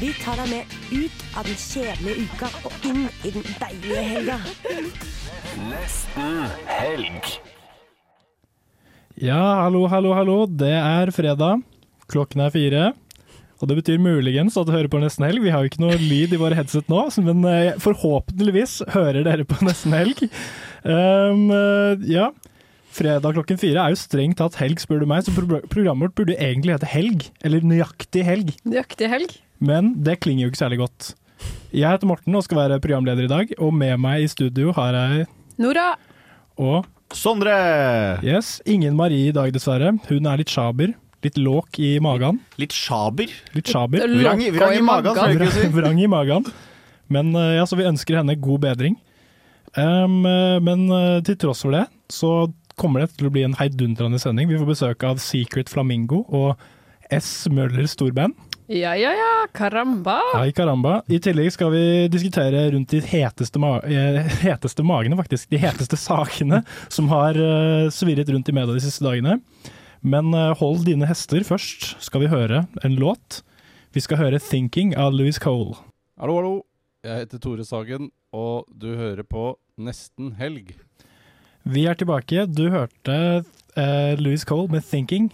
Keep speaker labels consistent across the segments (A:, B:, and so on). A: Vi tar deg med ut av den kjedelige uka og inn i den deilige helga.
B: Ja, hallo, hallo, hallo. Det er fredag. Klokken er fire. Og det betyr muligens at du hører på Nesten Helg. Vi har jo ikke noe lyd i våre headset nå, så- men eh, forhåpentligvis hører dere på Nesten Helg. Um, eh, ja. Fredag klokken fire er jo strengt tatt helg, spør du meg, så pro programmet vårt burde egentlig hete Helg. Eller Nøyaktig helg.
C: Nøyaktig helg.
B: Men det klinger jo ikke særlig godt. Jeg heter Morten og skal være programleder i dag, og med meg i studio har jeg
C: Nora,
B: og
D: Sondre!
B: Yes, ingen Marie i dag dessverre. Hun er litt sjaber, litt låk i magen.
D: Litt sjaber.
B: Litt sjaber,
C: Mm.
D: Vrang, i- vrang i magen, skal vi ikke si.
B: vrang, vrang i magen. Men eh, ja, så vi ønsker henne god bedring. Em, eh, men eh, til tross for det, så kommer det til å bli en heidundrende sending. Vi får besøk av Secret Flamingo og S. Møller storband.
C: Ja, ja, ja. Karamba.
B: Ai caramba. I tillegg skal vi diskutere rundt de heteste, ma eh, heteste magene, faktisk. De heteste sakene som har eh, svirret rundt i media de siste dagene. Men eh, hold dine hester først, skal vi høre en låt. Vi skal høre 'Thinking' av Louis Cole.
E: Hallo, hallo. Jeg heter Tore Sagen, og du hører på Nesten helg.
B: Vi er tilbake. Du hørte eh, Louis Cole med 'Thinking'.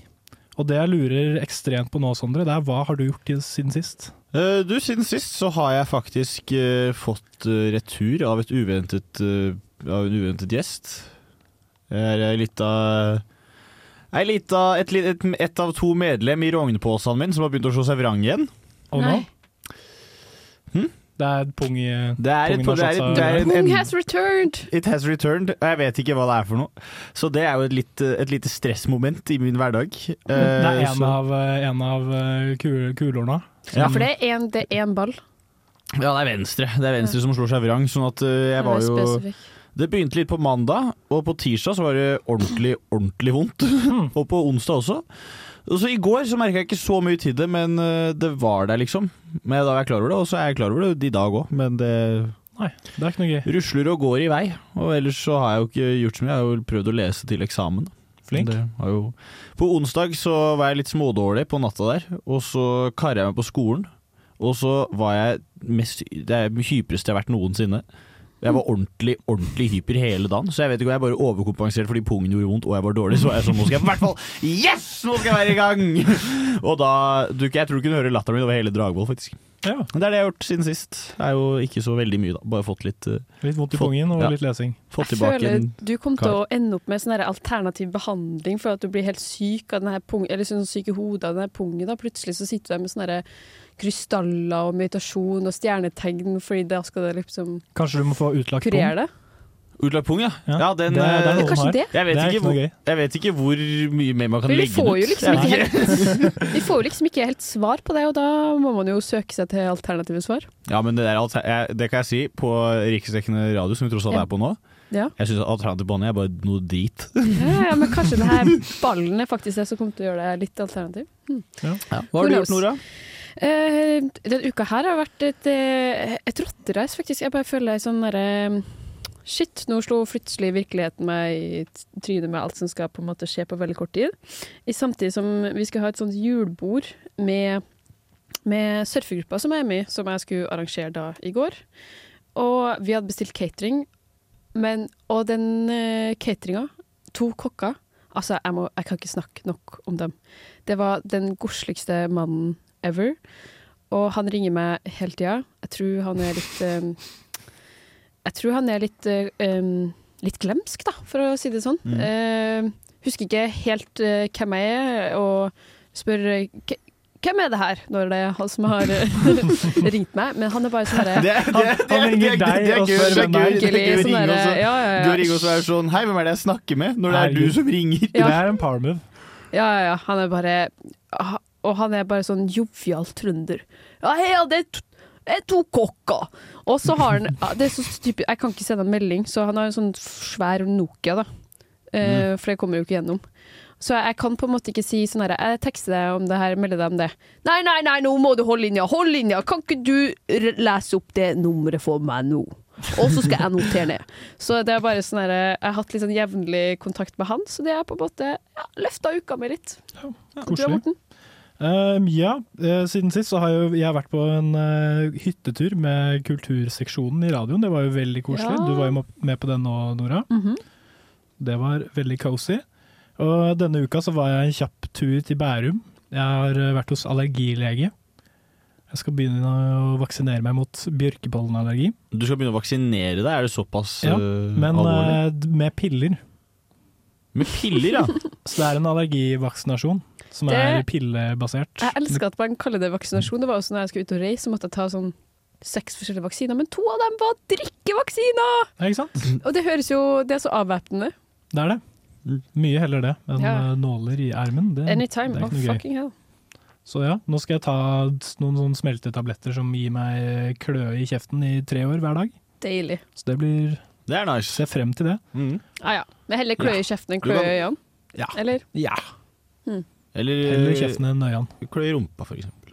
B: Og det jeg lurer ekstremt på nå, Sondre, det er hva har du gjort i- siden sist?
D: Eh, Du, siden sist så har jeg faktisk eh, fått eh, retur av, et uventet, eh, av en uventet gjest. Jeg er ei lita Ei lita et, li- et, et av to medlem i rognposen min som har begynt å slå seg vrang igjen.
B: Og nå?
C: Nei.
D: Hm?
B: Det er et pung i eh,
D: Det er et,
B: Pungen har
D: det er
B: slått
D: et,
B: seg
D: det er en,
C: Pung
D: en,
C: has returned.
D: It has returned, og jeg vet ikke hva det er for noe. Så det er jo et, litt, et lite stressmoment i min hverdag.
B: Mm. Det er
D: Eh,
B: en
D: så-
B: av, eh, en av eh, kul- kulorna.
D: Ja.
C: For det er en- det er én ball.
D: Ja, det er venstre. Det er venstre som slår seg vrang. Sånn at eh, jeg var jo
C: spesifikk.
D: Det begynte litt på mandag, og på tirsdag så var det ordentlig, ordentlig vondt. og på onsdag også. Og så I går så merka jeg ikke så mye til det, men eh, det var der, liksom. Men da var jeg klar over det, og så er jeg klar over det i dag òg. Men det
B: Nei, det er ikke noe gøy.
D: rusler og går i vei. Og ellers så har jeg jo ikke gjort så mye. Jeg har jo prøvd å lese til eksamen.
B: Flink.
D: Det har jo På onsdag så var jeg litt smådårlig på natta der, og så karra jeg meg på skolen. Og så var jeg mest, det er det hypreste jeg har vært noensinne. Jeg var ordentlig ordentlig hyper hele dagen, så jeg vet ikke om jeg bare overkompenserte fordi pungen gjorde vondt og jeg var dårlig. Så var jeg sånn, nå skal jeg i hvert fall Yes! Nå skal jeg være i gang! Og da du, Jeg tror du kunne høre latteren min over hele Dragvoll, faktisk.
B: Ja,
D: Men det er det jeg har gjort siden sist. Det er jo ikke så veldig mye, da. Bare fått litt eh,
B: litt vondt i
D: Fått-
B: pungen og
D: ja.
B: litt lesing.
D: Fått
C: Jeg
D: tilbake
C: føler
D: en
C: du kommer til å ende opp med sånn her alternativ behandling for at du blir helt syk av den her pung, eller sånn syk i hodet av den her pungen. Da. Plutselig så sitter du der med sånne her krystaller og meditasjon og stjernetegn, fordi da skal det liksom
B: Kanskje du må få utlagt pung?
C: kurere det.
D: utlagt pung, ja.
B: Ja,
D: Ja, den
B: det, det er
D: eh,
B: noe
C: Kanskje
B: her.
C: det?
D: Jeg vet,
B: Det er
D: ikke
B: ikke noe
D: hvor,
B: gøy.
D: jeg vet ikke hvor mye mer man kan
C: Men vi
D: legge den ut.
C: får jo liksom
D: Jeg vet
C: ikke helt, vi får jo liksom ikke helt svar på det, og da må man jo søke seg til alternative svar.
D: Ja, men det, der, alter- jeg, det kan jeg si på riksdekkende radio, som vi tross alt
C: Ja.
D: er på nå.
C: Ja.
D: Jeg syns alternativ behandling er bare noe drit.
C: Ja, ja, men kanskje den her ballen er faktisk det som kommer til å gjøre det litt alternativ.
D: Hva har du
C: Who
D: gjort,
C: knows?
D: Nora?
C: Eh, denne uka her har vært et, eh, et rottereis, faktisk. Jeg bare føler ei sånn derre Shit, nå slo plutselig virkeligheten meg i t- trynet med alt som skal på en måte skje på veldig kort tid. I samtidig som vi skal ha et sånt julebord med, med surfegruppa som jeg er med i, som jeg skulle arrangere da i går. Og vi hadde bestilt catering, men, og den eh, cateringa, to kokker Altså, jeg, må, jeg kan ikke snakke nok om dem. Det var den godsligste mannen ever. Og han ringer meg hele tida. Jeg tror han er litt um, Jeg tror han er litt eh, um, litt glemsk, da, for å si det sånn.
D: Mm.
C: Eh, husker ikke helt eh, hvem jeg er, og spør eh, "K- hvem er det her, når det er han som har eh, ringt meg. Men han er bare sånn herre
D: Det, det, det, det,
B: han ringer
D: det, det,
B: deg
D: er
B: og
D: gøy,
B: spør
D: det er
B: hvem
D: gøy,
B: det
D: det er gøy å
C: Virkelig, sånn
D: ringe og
C: derre-
D: så-
C: ja, ja,
D: Du
C: ja.
D: ringer og så er det sånn Hei, hvem er det jeg snakker med? Når det er
B: Herregud.
D: du som ringer.
C: Ja.
B: Det er en power move.
C: Ja, ja, ja. Ah, Han er bare Og han er bare sånn jovial trønder. Ja, hei, ja, det er t- eh, to kokker. Og så har han ja, Det er så typisk, jeg kan ikke sende han melding, så han har en sånn svær Nokia, da. Eh, For det kommer jo ikke gjennom. Så jeg, jeg kan på en måte ikke si sånn her Jeg tekster deg om det her, melder deg om det. Nei, nei, nei, nå må du holde linja! Hold linja! Kan ikke du r- lese opp det nummeret for meg nå? Og så skal jeg notere ned. Så det er bare sånn her Jeg har hatt litt sånn jevnlig kontakt med han, så det er på en måte ja, løfta uka mi litt. Du er
B: Koselig.
C: Morten?
B: Ehm, ja, eh, siden sist så har jeg, jo- jeg har vært på en eh, hyttetur med kulturseksjonen i radioen. Det var jo veldig koselig.
C: Ja.
B: Du var jo med på den nå, Nora.
C: Mhm.
B: Det var veldig cozy. Og denne uka så var jeg en kjapp tur til Bærum. Jeg har eh, vært hos allergilege. Jeg skal begynne å vaksinere meg mot bjørkepollenallergi.
D: Du skal begynne å vaksinere deg, er det såpass
B: Ja,
D: eh,
B: Men
D: alvorlig?
B: eh, d- med piller.
D: Med piller, ja!
B: Så det er en allergivaksinasjon som
C: Det-
B: er pillebasert.
C: Jeg elsker at man kaller det vaksinasjon. Det var også når jeg skulle ut og reise, så måtte jeg ta sånn seks forskjellige vaksiner, men to av dem var drikkevaksiner!
B: Ja, Ikke sant?
C: Og det høres jo Det er så avvæpnende.
B: Det er det. Mye heller det enn
C: Ja.
B: eh, nåler i ermen. Det,
C: Anytime.
B: det er
C: Oh,
B: ikke noe gøy.
C: fucking hell.
B: Så ja, nå skal jeg ta s- noen sånne smeltetabletter som gir meg eh, kløe i kjeften i tre år hver dag.
C: Deilig.
B: Så det blir
D: Det er nice.
B: Ser frem til det.
D: Mm.
C: Ah, ja. Men heller kløe i kjeften enn
D: Du
C: kløe
D: kan-
C: i øynene?
D: Ja.
C: Eller?
B: Ja.
D: Eller,
B: Eller i kjeften enn øynene.
D: klø i rumpa, for eksempel.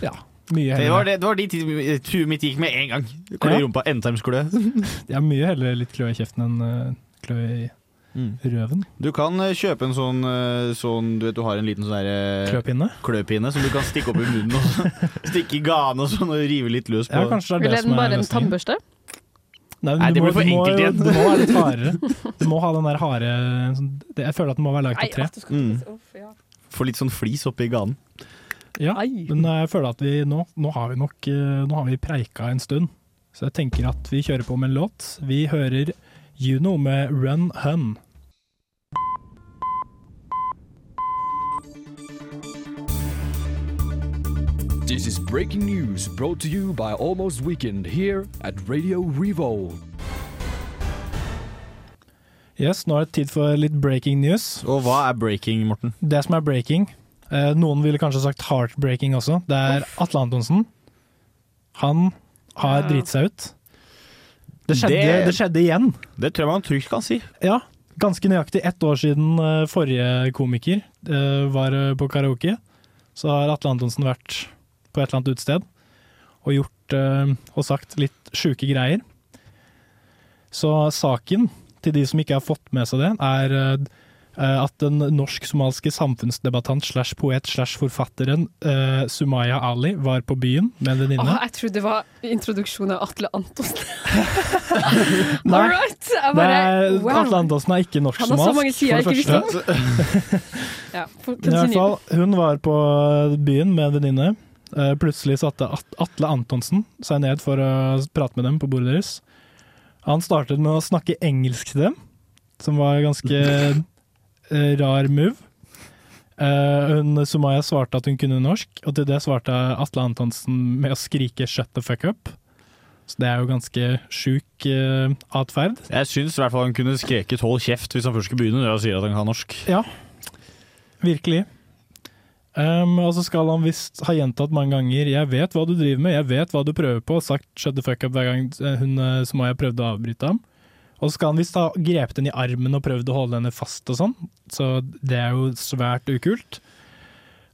B: Ja. Mye
D: Det var,
B: heller,
D: det, det var de ti- turen mitt gikk med en gang. Klø i
B: Ja.
D: rumpa, endetarmsklø.
B: ja, mye heller litt kløe i kjeften enn eh, kløe i
D: Mm.
B: røven.
D: Du kan eh, kjøpe en sånn, eh, sånn Du vet du har en liten sånn der, eh,
B: Kløpinne.
D: kløpinne som du kan stikke opp i munnen og stikke i ganen og sånn og rive litt løs på.
B: Ja, kanskje det er
C: Eller
B: det som
C: en,
B: er
C: bare en
B: løsningen.
C: tannbørste?
B: Nei,
D: Nei,
B: du
D: det
B: må-
D: blir for
B: du må
D: enkelt
B: jo-
D: igjen.
B: Du må være litt hardere. Du må ha den der harde sånn- det- Jeg føler at den må være lagd av tre.
D: Mm. Få litt sånn flis oppi ganen.
B: Ja, men eh, jeg føler at vi nå, nå har vi nok eh, Nå har vi preika en stund. Så jeg tenker at vi kjører på med en låt. Vi hører Juno med Run Hun.
F: This is breaking news brought to you by Almost Weekend here at Radio Revolt.
B: Yes, nå er det tid for litt breaking news.
D: Og hva er breaking, Morten?
B: Det som er breaking eh, Noen ville kanskje sagt heartbreaking også. Det er Atle Antonsen. Han har
C: Ja.
B: driti seg ut. Det skjedde,
D: Det-
B: det skjedde igjen.
D: Det tror jeg man trygt kan si.
B: Ja, ganske nøyaktig ett år siden eh, forrige komiker eh, var eh, på karaoke, så har Atle Antonsen vært på et eller annet utested og gjort eh, og sagt litt sjuke greier. Så saken til de som ikke har fått med seg det, er eh, at den norsk-somaliske samfunnsdebattant slash poet slash forfatteren eh, Sumaya Ali var på byen med en venninne.
C: Åh, jeg trodde det var introduksjonen av Atle Antonsen.
B: Nei.
C: All right! Jeg
B: Det
C: bare,
B: er, Atle
C: wow.
B: Antonsen er ikke
C: Han har så mange
B: norsk-somalisk,
C: sider
B: for
C: jeg
B: det
C: ikke
B: første.
C: visste om. Ja, for-
B: Men I hvert
C: continue.
B: fall, hun var på eh, byen med en venninne. Eh, Plutselig satte At- Atle Antonsen seg ned for å prate med dem på bordet deres. Han startet med å snakke engelsk til dem, som var ganske eh, rar move. Eh, Hun, Sumaya svarte at hun kunne norsk, og til det svarte Atle Antonsen med å skrike 'shut the fuck up'. Så det er jo ganske sjuk eh, atferd.
D: Jeg syns i hvert fall han kunne skreket 'hold kjeft' hvis han først skulle begynne når han sier at han kan norsk.
B: Ja, virkelig. Ehm, og så skal han visst ha gjentatt mange ganger 'jeg vet hva du driver med, jeg vet hva du prøver på', og sagt 'shut the fuck up' hver gang eh, hun eh, som jeg prøvde å avbryte ham. Og så skal han visst ha grepet henne i armen og prøvd å holde henne fast og sånn, så det er jo svært ukult.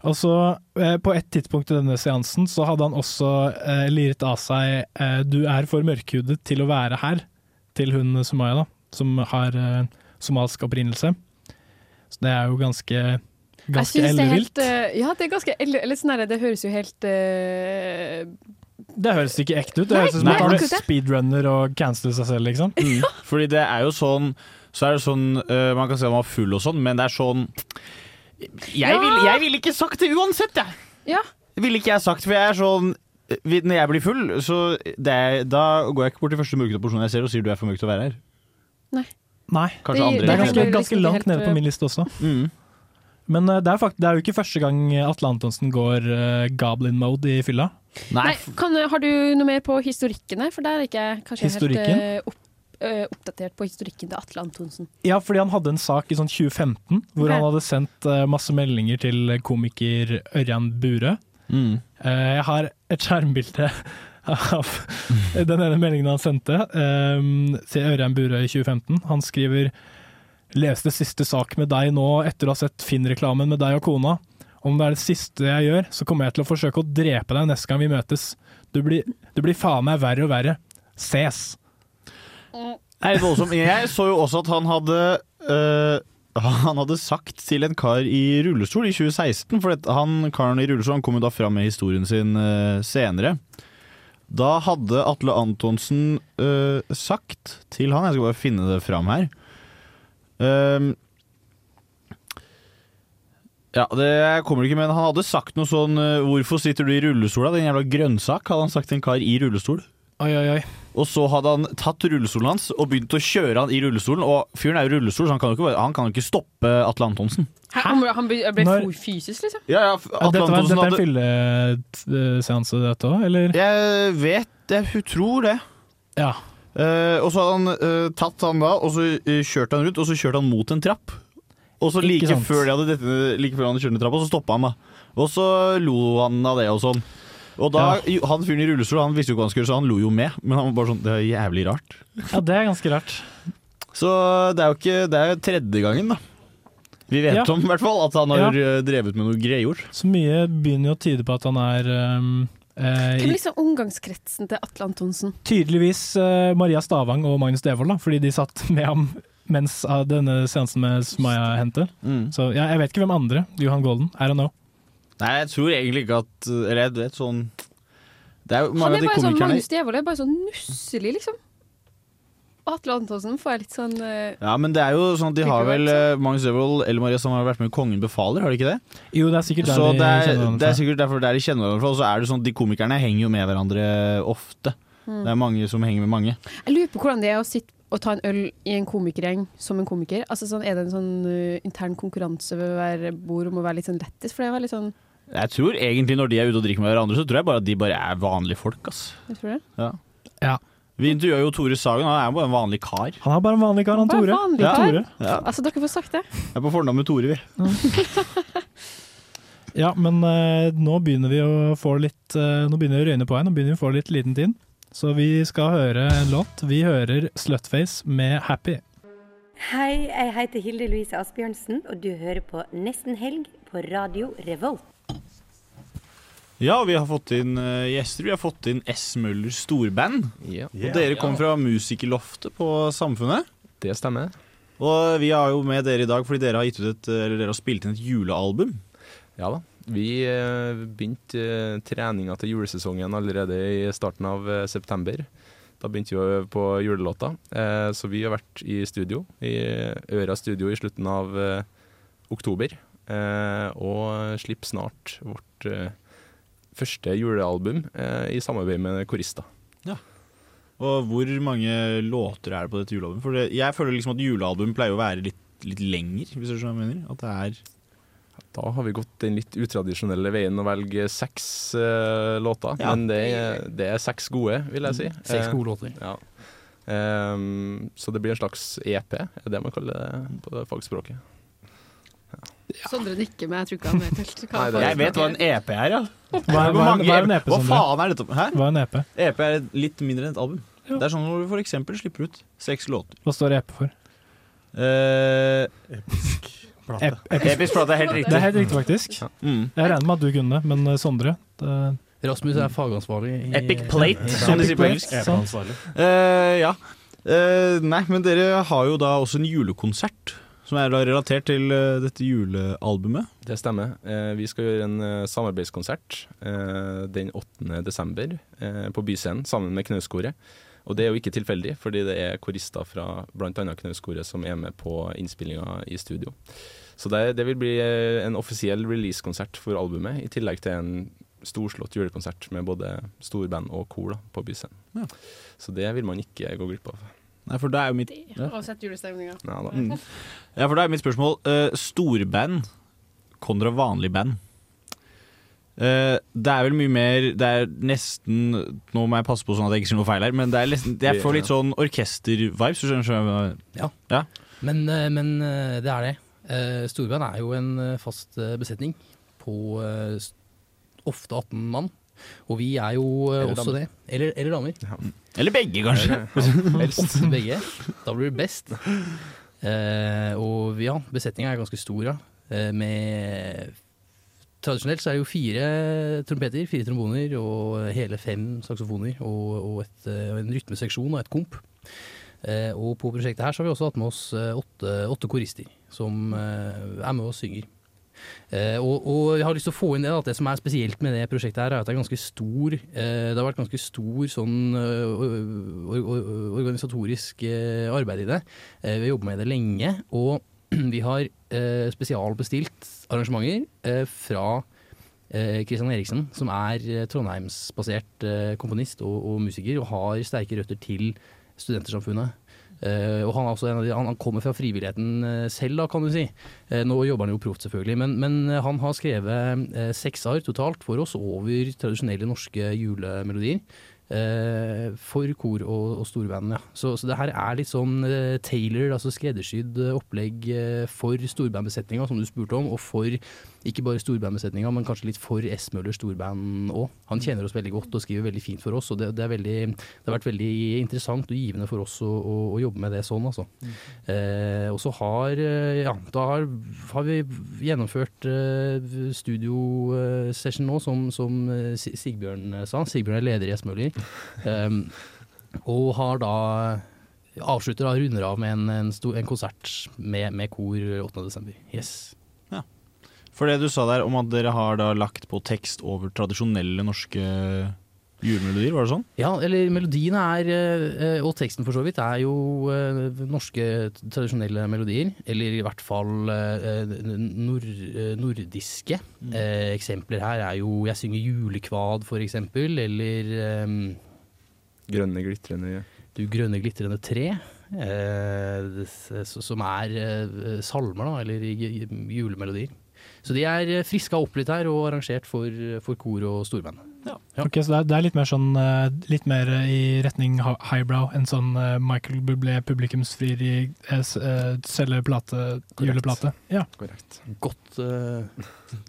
B: Og så, eh, på et tidspunkt i denne seansen, så hadde han også eh, liret av seg eh, 'du er for mørkhudet til å være her', til hun eh, Sumaya, da, som har eh, somalisk opprinnelse. Så det er jo ganske,
C: Jeg
B: ganske
C: synes det er helt,
B: ellevilt. Det,
C: eh, Ja, det er ganske elle, eller sånn her, det høres jo helt eh,
B: høres ikke ekte ut. Det
C: Nei,
B: høres ut som
D: nei,
B: at han
C: akkurat
B: er
C: det.
B: speedrunner og canceler seg selv, liksom.
D: Mm. Fordi det er jo sånn Så er det sånn øh, Man kan si at man var full og sånn, men det er sånn Jeg
C: Ja.
D: ville jeg ville ikke sagt det uansett, jeg!
C: Ja.
D: Det ville ikke jeg sagt, for jeg er sånn øh, vi- Når jeg blir full, så det er, da går jeg ikke bort til første mørkete person jeg ser og sier du er for mørk til å være her.
B: Nei.
C: Det-
D: Kanskje andre
B: Det er
C: kan
D: gjør
B: ganske,
C: blir
B: ganske
C: liksom
B: langt
C: helt,
B: nede på
C: eh,
B: min liste også.
D: Mm.
B: Men eh, det er, fakt det er jo ikke første gang Atle Antonsen går eh, goblin mode i fylla.
D: Nei,
C: Nei, kan, har du noe mer på historikken her? For der er ikke jeg kanskje
B: Historikken?
C: helt eh, opp, eh, oppdatert på historikken til Atle Antonsen.
B: Ja, fordi han hadde en sak i sånn 2015 hvor
C: Ok.
B: han hadde sendt eh, masse meldinger til komiker Ørjan Bure.
D: Mm.
B: Eh, Jeg har et skjermbilde av den ene meldingen han sendte eh, til Ørjan Burøe i 2015. Han skriver Leste siste sak med deg nå etter å ha sett Finn-reklamen med deg og kona. Om det er det siste jeg gjør, så kommer jeg til å forsøke å drepe deg neste gang vi møtes. Du blir, du blir faen meg verre og verre. Ses!
D: Nei, voldsomt. Jeg så jo også at han hadde øh, Han hadde sagt til en kar i rullestol i 2016 For at han karen i rullestol han kom jo da fram med historien sin øh, senere. Da hadde Atle Antonsen øh, sagt til han Jeg skal bare finne det fram her. Ehm, ja, det kommer ikke, men han hadde sagt noe sånn øh, 'Hvorfor sitter du i rullestol, da, din jævla grønnsak?' hadde han sagt til en kar i rullestol.
B: Oi, oi, oi.
D: Og så hadde han tatt rullestolen hans og begynt å kjøre han i rullestolen. Og fyren er jo i rullestol, så han kan jo ikke, bare- han kan jo ikke stoppe Atle Antonsen.
C: Hæ? Han, han ble, ble
B: Når-
C: for fysisk, liksom?
D: Ja, ja,
B: Ja,
D: Atle
B: Dette, var,
D: Antonsen
B: dette er en
D: hadde
B: fylleseanse, dette òg, eller?
D: Jeg vet det, hun tror det.
B: Ja.
D: Eh, og så hadde han eh, tatt han da, og så eh, kjørte han rundt, og så kjørte han mot en trapp. Og så like
B: Ikke sant.
D: før, de hadde dette, like før han kjørte ned trappa, så stoppa han, da. Og så lo han av det og sånn. Og da, jo, Han fyren i rullestol han visste jo ikke hva han skulle gjøre, så han lo jo med. Men han var bare sånn Det er jævlig rart.
B: ja, det er ganske rart.
D: Så det er jo ikke Det er jo tredje gangen, da. Vi vet
B: Ja.
D: om i hvert fall at han har eh, drevet med noe greier.
B: Så mye begynner jo å tyde på at han er ehm, eh,
C: Hvem er
B: i-
C: liksom omgangskretsen til Atle Antonsen?
B: tydeligvis eh, Maria Stavang og Magnus Devold, da, fordi de satt med ham mens av denne seansen med Smaya hendte. Så ja, jeg vet ikke hvem andre. Johan Golden. I don't know.
D: Nei, jeg tror egentlig ikke at Eller jeg vet sånn Det er jo
C: Han
D: mange
C: er
D: av de
C: bare sånn
D: komikerne
C: Magnus Devold er bare sånn nusselig, liksom. Og Atle Antonsen får jeg litt sånn eh,
D: Ja, men det er jo sånn at de har
C: Ikke
D: vel eh, Magnus Devold eller Maria som har vært med i Kongen befaler, har de ikke det?
B: Jo, det er sikkert der
D: Så
B: de
D: det
B: kjenner
D: er, det er
B: hverandre fra.
D: sikkert derfor der de kjenner hverandre fra. Og så er det sånn at de komikerne henger jo med hverandre ofte.
C: Mm.
D: Det er mange som henger med mange.
C: Jeg lurer på hvordan det er å sitte og ta en øl i en komikergjeng som en komiker. Altså sånn, Er det en sånn eh, intern konkurranse ved hver bord om å være litt sånn lettis? For det var litt sånn
D: Jeg tror egentlig når de er ute og drikker med hverandre, så tror jeg bare at de bare er vanlige folk, ass.
C: Jeg tror det.
D: Ja.
B: Ja.
D: Vi intervjuer jo Tore Sagen, han er jo bare en vanlig kar.
B: Han er bare en vanlig kar, han
C: Bare
B: Tore.
C: vanlig
D: Ja.
C: kar.
B: Tore.
D: Ja.
C: Altså, dere får sagt det.
D: Jeg er på fornavn med Tore, vi.
B: Ja, men eh, nå begynner vi å få litt eh, Nå begynner det å røyne på her. Nå begynner vi å få litt liten tid. Så vi skal høre en låt. Vi hører Slutface med 'Happy'.
A: Hei, jeg heter Hilde Louise Asbjørnsen, og du hører på Nesten Helg på Radio Revolt.
D: Ja, vi har fått inn eh, gjester. Vi har fått inn S. Møllers storband. Og dere kom fra Musikerloftet på Samfunnet.
E: Det stemmer.
D: Og vi er jo med dere i dag fordi dere har, gitt ut et, eller dere har spilt inn et julealbum.
E: Ja da. Vi eh, begynte eh, treninga til julesesongen allerede i starten av eh, september. Da begynte vi å øve på julelåta. Eh, Så vi har vært i studio, i Øra studio i slutten av eh, oktober. eh, Og slipper snart vårt eh, første julealbum eh, i samarbeid med korister.
D: Og hvor mange låter er det på dette julealbumet? For det, jeg føler liksom at julealbum pleier å være litt, litt lenger, hvis du skjønner hva jeg mener. At det er
E: Da har vi gått den litt utradisjonelle veien å velge seks eh, låter.
D: Ja.
E: Men det er, det er seks gode, vil jeg si.
D: Mm, seks
E: Eh,
D: gode låter.
E: ja. Ehm, så det blir en slags EP, er det man kaller det på det fagspråket.
C: Sondre nikker, men jeg tror ikke han vet helt hva
E: Nei,
C: han
E: det-
D: Jeg vet hva en EP er, ja.
B: Hva er- hva er- hva er en EP,
D: Hva
B: Sondre?
D: faen er E dette? Hæ?
B: Hva er en E EP?
D: EP er litt mindre enn et album. Det er sånn når du for eksempel slipper ut seks låter.
B: Hva står EP for?
D: Eh, episk plate.
B: Ep- episk-
D: episk plate er helt riktig.
B: E Det er helt riktig, faktisk.
D: Mm.
B: Jeg regner med at du kunne det, men eh, Sondre det
G: Rasmus er fagansvarlig. I,
D: Epic plate, som de
G: Epic
D: sier på
G: plate,
D: engelsk.
G: sant.
B: Sånn.
D: Epic-ansvarlig. Eh, ja. Eh, nei, men dere har jo da også en julekonsert, som er da relatert til eh, dette julealbumet.
E: Det stemmer. Eh, vi skal gjøre en eh, samarbeidskonsert eh, den 8. desember eh, på Byscenen sammen med Knauskoret. Og det er jo ikke tilfeldig, fordi det er korister fra bl.a. Knauskoret som er med på innspillinga i studio. Så det, det vil bli eh, en offisiell releasekonsert for albumet, i tillegg til en storslått julekonsert med både storband og kor da, på Byscenen.
D: Ja.
E: Så det vil man ikke gå glipp av.
D: Nei, for det er jo mitt
C: heter. Og sett julestemninga.
E: Ja, da.
D: Mm. Ja, for da er mitt spørsmål eh, Storband kontra vanlig band. Eh, det er vel mye mer Det er nesten Nå må jeg passe på sånn at jeg ikke sier noe feil her, men det er nesten, jeg får litt sånn orkester-vibes. Du skjønner, skjønner,
G: Ja.
D: ja.
G: Men, eh, men eh, det er det. Eh, Storband er jo en eh, fast eh, besetning på eh, s-
H: ofte 18 mann. Og vi er jo eh,
D: Eller
H: også
D: damer.
H: det. Eller, eller damer.
D: Eller begge, kanskje.
H: Ja,
D: Helst.
H: Ofte begge. Da blir det best. Eh, og ja, besetninga er ganske stor, ja. Eh, med Tradisjonelt så er det jo fire trompeter, fire tromboner og hele fem saksofoner og, og, et, eh, og en rytmeseksjon og et komp. Eh, og på prosjektet her så har vi også hatt med oss eh, åtte, åtte korister som eh, er med og synger. Eh, og, og jeg har lyst til å få inn det da, at det som er spesielt med det prosjektet her, er at det er ganske stor eh, Det har vært ganske stor sånn eh, or, or, or, organisatorisk eh, arbeid i det. Eh, vi har jobbet med det lenge, og vi har eh, spesialbestilt arrangementer eh, fra eh, Christian Eriksen, som er eh, Trondheimsbasert eh, komponist og, og musiker, og har sterke røtter til Studentersamfunnet. Eh, og han, er også en av de, han, han kommer fra frivilligheten eh, selv, da, kan du si. Eh, nå jobber han jo proft, selvfølgelig, men, men eh, han har skrevet eh, seks arr totalt for oss over tradisjonelle norske julemelodier. eh, for kor og, og storband, ja. Så, så det her er litt sånn eh, tailored, altså skreddersydd eh, opplegg eh, for storbandbesetninga, som du spurte om, og for ikke bare storbandbesetninga, men kanskje litt for S. Møller storband òg. Han kjenner oss veldig godt og skriver veldig fint for oss, og det, det, er veldig, det har vært veldig interessant og givende for oss å, å, å jobbe med det sånn, altså. Eh, og så har eh, ja, da har, har vi gjennomført eh, studiosession nå, som, som eh, Si- Sigbjørn sa. Sigbjørn er leder i S-Møller. Em, og har da avslutter da runder av med en, en, stor, en konsert med, med kor 8.12. Yes.
D: For det du sa der om at dere har da lagt på tekst over tradisjonelle norske eh, julemelodier, var det sånn?
H: Ja, eller melodiene er, eh, og teksten for så vidt, er jo eh, norske tradisjonelle melodier. Eller i hvert fall eh, nor eh, nordiske. Eh, Eksempler her er jo 'Jeg synger julekvad', for eksempel, eller eh,
F: Grønne, glitrende
H: du grønne glitrende tre, eh, s- s- som er eh, salmer, da, eller i- i julemelodier. Så de er eh, friska opp litt her, og arrangert for, for kor og storband.
B: Ok, Så det er, det er litt mer sånn eh, Litt mer i retning hi- highbrow enn sånn eh, Michael Bublé publikumsfrieri eh, s- eh, selge plate, juleplate. Ja.
F: Korrekt.
H: Godt eh,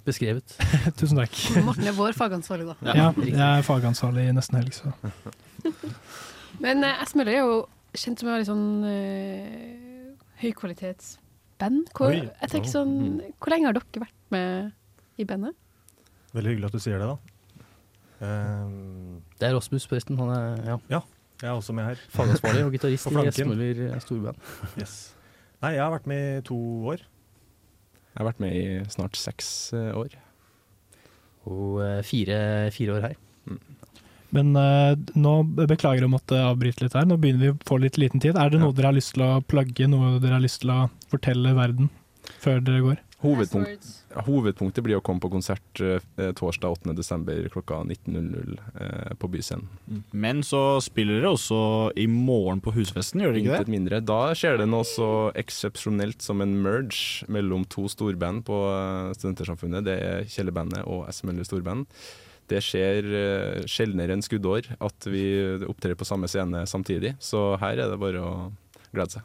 H: beskrevet.
B: Tusen takk.
C: Morten er vår fagansvarlig, da.
B: Ja, jeg er fagansvarlig nesten helg, så
C: Men eh, S. Møller er jo kjent som en veldig sånn eh, høykvalitetsband. Hvor,
I: Oi.
C: jeg tenker sånn,
D: mhm.
C: hvor lenge har dere vært med i bandet?
I: Veldig hyggelig at du sier det, da. Ehm,
H: Det er Rasmus, forresten. Han er ja.
I: ja, jeg er også med her.
H: Fagansvarlig og gitarist
I: På
H: i
I: flanken.
H: Esmøller eh, storband.
I: Yes. Nei, jeg har vært med i to år.
F: Jeg har vært med i snart seks eh, år.
H: Og eh, fire, fire år her.
B: Men eh, nå beklager jeg å måtte avbryte litt her, nå begynner vi å få litt liten tid. Er det noe dere har lyst til å plagge, noe dere har lyst til å fortelle verden før dere går?
F: Hovedpunkt, hovedpunktet blir å komme på konsert eh, torsdag 8.12. klokka 19.00 eh, på Byscenen.
D: Men så spiller dere også i morgen på Husfesten, gjør dere ikke
F: Intet
D: det?
F: mindre. Da skjer det noe så eksepsjonelt som en merge mellom to storband på eh, Studentersamfunnet. Det er Kjellerbandet og SML Storband. Det skjer eh, sjeldnere enn skuddår at vi opptrer på samme scene samtidig, så her er det bare å glede seg.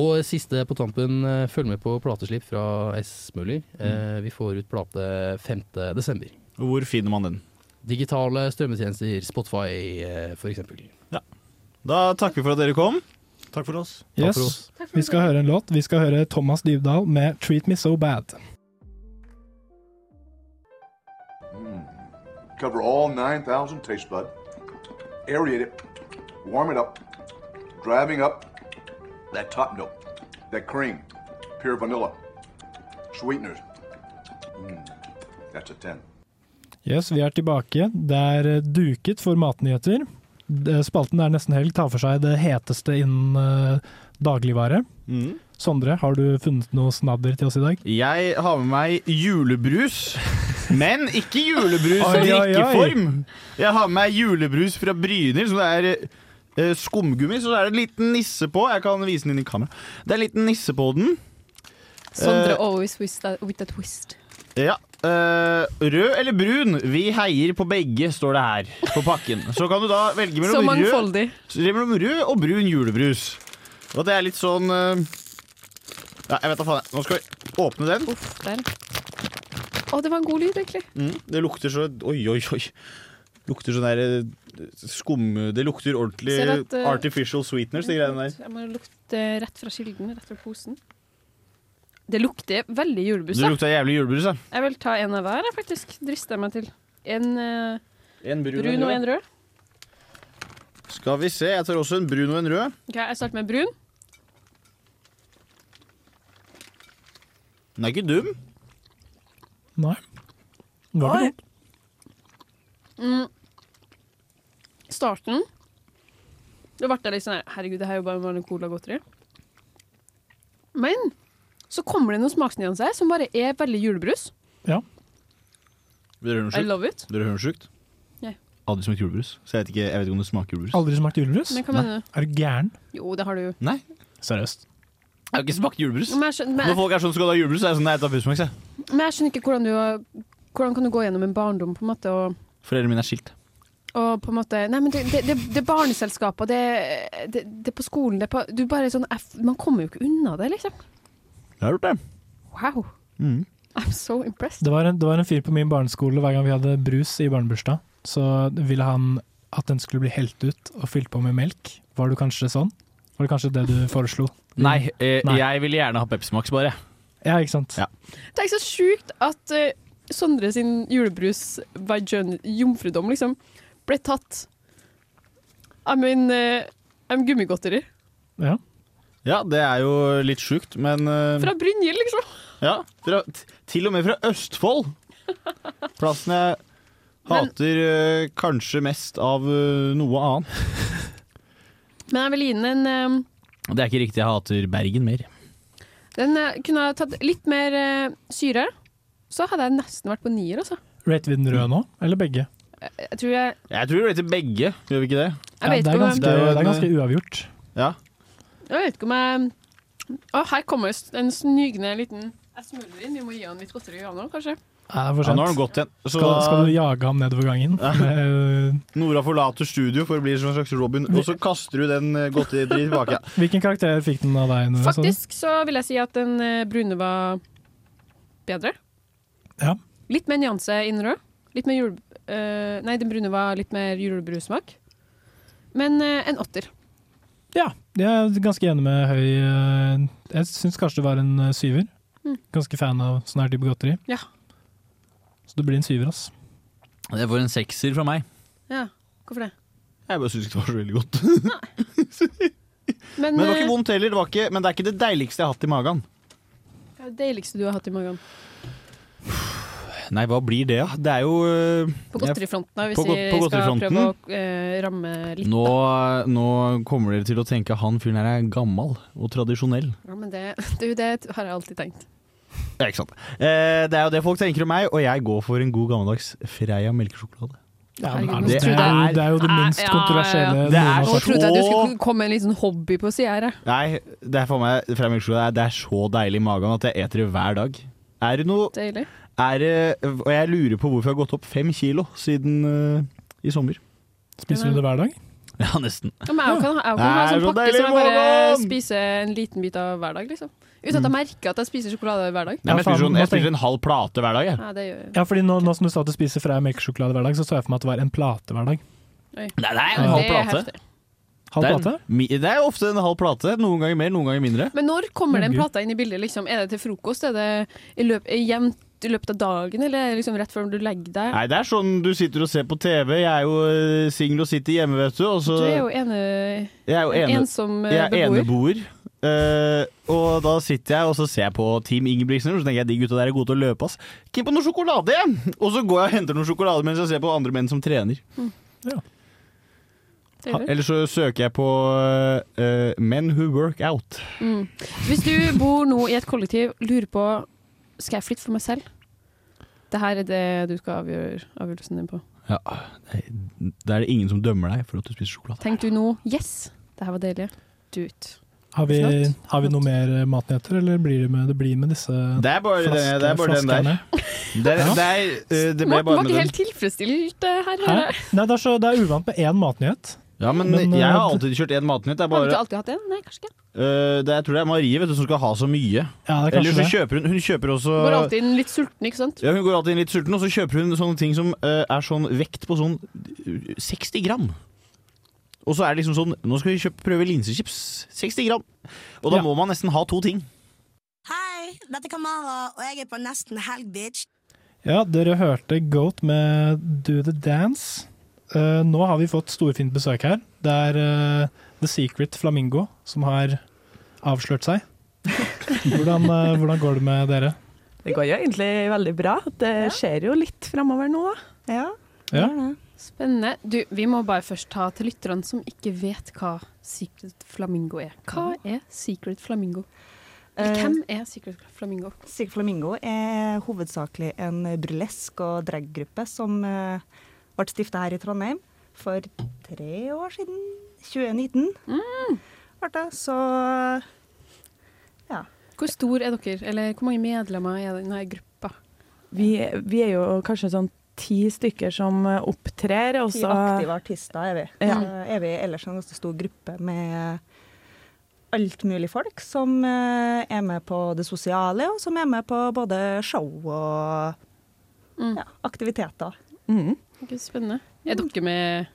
H: Og siste på tampen, eh, følg med på plateslipp fra S. Møller. Eh, Vi får ut plate 5. desember.
D: Hvor finner man den?
H: Digitale strømmetjenester, Spotify eh, for eksempel.
D: Da takker vi for at dere kom.
I: Takk for oss.
B: Yes. Vi skal høre en låt. Vi skal høre Thomas Dybdahl med 'Treat Me So Bad'.
E: Cover all 9,000 taste bud. Aerate it. Warm it up. Driving up that top note, that cream, pure vanilla, sweeteners. Mm, that's a 10.
B: Yes, vi er tilbake. Det er eh, duket for matnyheter. Det- Spalten er nesten helg, tar for seg det heteste innen eh, dagligvare.
D: Mm.
B: Sondre, har du funnet noe snadder til oss i dag?
D: Jeg har med meg julebrus, men ikke julebrus
B: Oi,
D: i
B: oi, oi.
D: drikkeform. Jeg har med meg julebrus fra Bryner, som det er eh, skumgummi, så det er en liten nisse på. Jeg kan vise den inn i kamera. Det er en liten nisse på den.
C: Sondre
D: Eh,
C: always with that, with that twist.
D: Ja. eh, rød eller brun? Vi heier på begge, står det her på pakken. Så kan du da velge
C: Så
D: mellom rød,
C: mangfoldig.
D: så det er mellom rød og brun julebrus. Og det er litt sånn eh, ja, Jeg vet da faen. jeg. Nå skal vi åpne den.
C: Der. Å, det var en god lyd, egentlig.
D: Mm, det lukter så Oi, oi, oi. Lukter sånn der eh, skum... Det lukter ordentlig
C: Ser at, eh,
D: artificial sweeteners, de greiene der.
C: Jeg må lukte rett fra kilden, rett fra posen. Det lukter veldig julebuss.
D: Det
C: da.
D: lukter jævlig julebrus, ja.
C: Jeg vil ta en av hver, jeg, faktisk. Drister jeg meg til. En eh,
D: En brun,
C: brun, og en rød.
D: Skal vi se, jeg tar også en brun og en rød.
C: Ok, Jeg starter med brun.
D: Den er ikke dum.
B: Nei. Det var ikke dumt.
C: Mm. Starten Da ble jeg litt sånn her Herregud, det her er jo bare en vanlig cola-godteri. Men så kommer det noen smaksnyanser her som bare er veldig julebrus.
D: Dere hører noe
C: I love it.
D: sjukt? Dere hører noe sjukt?
C: Nei.
D: Aldri smakt julebrus, så jeg vet, ikke, jeg vet ikke om det smaker julebrus.
B: Aldri smakt julebrus?
C: Men hva mener du?
B: Er du gæren?
C: Jo, det har du jo.
D: Nei,
B: Seriøst.
D: jeg har ikke smakt julebrus.
C: Men jeg skjønner, men,
D: Når folk er sånn skal du ha julebrus, så er jeg sånn nei, jeg tar Pustmax, jeg.
C: men jeg skjønner ikke hvordan du har- Hvordan kan du gå gjennom en barndom på en måte og,
D: Foreldrene mine er skilt.
C: og på en måte Nei, men det, det, det, det er barneselskapet, og det, det, det er på skolen, det er på Du bare er sånn eff- Man kommer jo ikke unna det, liksom.
D: Jeg har gjort det.
C: Wow.
D: Mm.
C: I'm so impressed.
B: Det var, en, det var en fyr på min barneskole hver gang vi hadde brus i barnebursdag. Så ville han at den skulle bli helt ut og fylt på med melk. Var du kanskje sånn? Var det kanskje det du foreslo?
D: Nei, eh,
B: Nei.
D: jeg ville gjerne ha Pepsi Max, bare.
B: Ja, ikke sant?
C: Tenk så sjukt at eh, Sondre sin julebrus by jøn- jomfrudom liksom ble tatt av min eh, av gummigodteri.
B: Ja.
D: Ja, det er jo litt sjukt, men eh,
C: Fra Brynhild, liksom.
D: Ja, fra, t- til og med fra Østfold. Plassen jeg hater eh, kanskje mest av eh, noe annet.
C: Men jeg vil gi den en eh,
D: Det er ikke riktig, jeg hater Bergen mer.
C: Den eh, kunne ha tatt litt mer eh, syre. Så hadde jeg nesten vært på nier, altså.
B: Rate vi den røde nå, eller begge?
C: Jeg, jeg tror jeg
D: Jeg tror vi rater begge, gjør vi ikke det?
C: Jeg vet
B: det,
C: ikke
B: er
C: om-
B: ganske,
D: Det er jo
B: det
D: en-
B: er ganske uavgjort.
D: Ja.
C: Jeg vet ikke om jeg Å, her kommer en snygende liten Jeg smuldrer inn. Vi må gi han litt godteri, han òg, kanskje.
B: Ja, det er for
D: Ja,
B: sent.
D: nå har den gått igjen. Så
B: skal,
D: da-
B: skal du jage ham nedover gangen? Eh,
D: Nora forlater studio for å bli som en slags Robin, og så kaster du den eh, godteriet tilbake.
B: Hvilken karakter fikk den av
D: sånn.
B: deg? Nora, sa du?
C: Faktisk så vil jeg si at den eh, brune var bedre.
B: Ja.
C: Litt mer nyanse innen rød. Litt mer jule... eh, nei, den brune var litt mer julebrussmak. Men eh, en åtter.
B: Ja, jeg er ganske enig med Høy. eh, Jeg syns kanskje det var en eh, syver.
C: Mm.
B: Ganske fan av sånn her type godteri.
C: Ja.
B: Så det blir en syver, ass.
D: Det får en sekser fra meg.
C: ja. Hvorfor det?
D: Jeg bare syns ikke det var så veldig godt.
C: Men,
D: Men det var ikke
C: eh,
D: vondt heller, det var ikke, men det er ikke det deiligste jeg har hatt i magen.
C: hva er det deiligste du har hatt i magen.
D: Nei, hva blir det, da? Det er jo eh,
C: På
D: jeg-
C: godterifronten, da, hvis
D: På go- på
C: vi skal
D: godterifronten?
C: prøve å eh, ramme litt.
D: Nå, eh, nå kommer dere til å tenke at han fyren her er gammel og tradisjonell.
C: Ja, men det, du, det har jeg alltid tenkt.
D: Ja, ikke sant. Eh, det er jo det folk tenker om meg, og jeg går for en god gammeldags Freia melkesjokolade.
B: Ja,
C: men
B: Herregud, det nå tror jeg- er jo- det er jo det minst kontroversielle
C: Ja, ja, ja.
D: Det er
C: Nå trodde jeg du
D: så-
C: skulle komme med en liten hobby på sida her. jeg.
D: Nei, det er for meg Freia melkesjokolade er- det er så deilig i magen at jeg eter det hver dag. Er det noe
C: Deilig.
D: er det, Og jeg lurer på hvorfor jeg har gått opp fem kilo siden eh, i sommer.
B: Spiser du det hver dag?
D: Ja, nesten.
C: Ja, men jeg også kan, ha- jeg også kan ha
D: Det er
C: sånn
D: så
C: pakke
D: deilig
C: som jeg bare
D: morgen! Mm.
C: spiser en liten bit av hver dag, liksom. Uten at jeg merker at jeg spiser sjokolade hver dag.
D: Nei, men jeg, spiser,
B: faen,
D: sånn- jeg
B: nå tenk-
D: spiser en halv plate hver dag. Jeg.
C: Ja, det gjør jeg.
B: Ja, fordi nå, nå som du sa at du spiser Freia melkesjokolade hver dag, så så jeg for meg at det var en plate hver dag.
C: Oi.
D: Nei, det er en
C: Det
D: halv
C: er
D: plate.
C: heftig.
B: Halv
D: Det er en-
B: plate?
D: mi- Det er ofte en halv plate. Noen ganger mer, noen ganger mindre.
C: Men når kommer den
D: Herregud.
C: plata inn i bildet? Liksom? Er det til frokost? Er det i løp, er jevnt i løpet av dagen, eller er det liksom rett før du legger deg?
D: Nei, det er sånn du sitter og ser på TV. Jeg er jo eh, singel og sitter hjemme, vet du. Og så
C: Du er jo ene...
D: jeg er jo
C: en
D: ene-
C: ensom, eh,
D: jeg er
C: beboer.
D: eneboer. Eh, og da sitter jeg og så ser jeg på Team Ingebrigtsen, og så tenker jeg de gutta der er gode til å løpe. ass Keen på noe sjokolade! jeg!» Og så går jeg og henter noe sjokolade mens jeg ser på andre menn som trener. Ha- Eller så søker jeg på eh, Men who work out.
C: Mm. Hvis du bor nå i et kollektiv, lurer på Skal jeg flytte for meg selv? Det her er det du skal avgjøre avgjørelsen din på.
D: Ja, Da er det ingen som dømmer deg for at du spiser sjokolade.
C: Tenk du nå Yes, det her var deilig. Do it.
B: Har vi,
C: Flott.
B: har vi noe mer eh, matnyheter, eller blir det med, det blir med disse
D: Det er bare, den, det er bare den der.
B: flaskene?
D: Det, er,
B: Ja.
D: det, er, eh, det
C: Morten
D: ble bare
C: var
D: med
C: ikke
D: den.
C: helt tilfredsstilt eh, her.
B: Hæ?
C: hører jeg.
B: Nei, det er, så, det er uvant med én matnyhet.
D: Ja, men,
C: Men,
D: jeg har
C: eh,
D: alltid kjørt én matnytt.
C: Har
D: Det er
C: du
D: bare
C: ikke alltid hatt en? Nei, kanskje ikke.
D: Eh, det, jeg tror det er Marie vet du, som skal ha så mye.
J: Ja, det er kanskje
D: Eller så
J: det.
D: kjøper hun Hun kjøper også
C: Går alltid inn litt sulten, ikke sant?
D: ja, Hun går alltid inn litt sulten, og så kjøper hun sånne ting som eh, er sånn vekt på sånn eh, 60 gram. Og så er det liksom sånn Nå skal vi kjøpe, prøve linsechips. 60 gram. Og da må man nesten ha to ting.
K: Hei, dette er Kamara, og jeg er på nesten helg, bitch.
J: Ja, dere hørte Goat med Do the Dance. Eh, nå har vi fått storfint besøk her. Det er eh, The Secret Flamingo som har avslørt seg. Hvordan, eh, hvordan går det med dere?
A: Det går jo egentlig veldig bra. Det skjer jo litt framover nå, da. Ja.
J: Ja?
C: Spennende. Du, vi må bare først ta til lytterne som ikke vet hva Secret Flamingo er. Hva er Secret Flamingo? Eller
A: Eh,
C: hvem er Secret Flamingo?
A: Sigurd Flamingo er hovedsakelig en burlesk og draggruppe som eh, ble stifta her i Trondheim for tre år siden. 2019. Mm. Ble det, så ja.
C: Hvor stor er dere, eller hvor mange medlemmer er denne gruppa?
L: Vi, vi er jo kanskje sånn ti stykker som eh, opptrer. Og
A: Ti
L: så
A: aktive artister er vi.
L: Ja.
A: Så er vi ellers en ganske stor gruppe med alt mulig folk som eh, er med på det sosiale, og som er med på både show og ja, aktiviteter.
C: Ok, spennende. Er dere med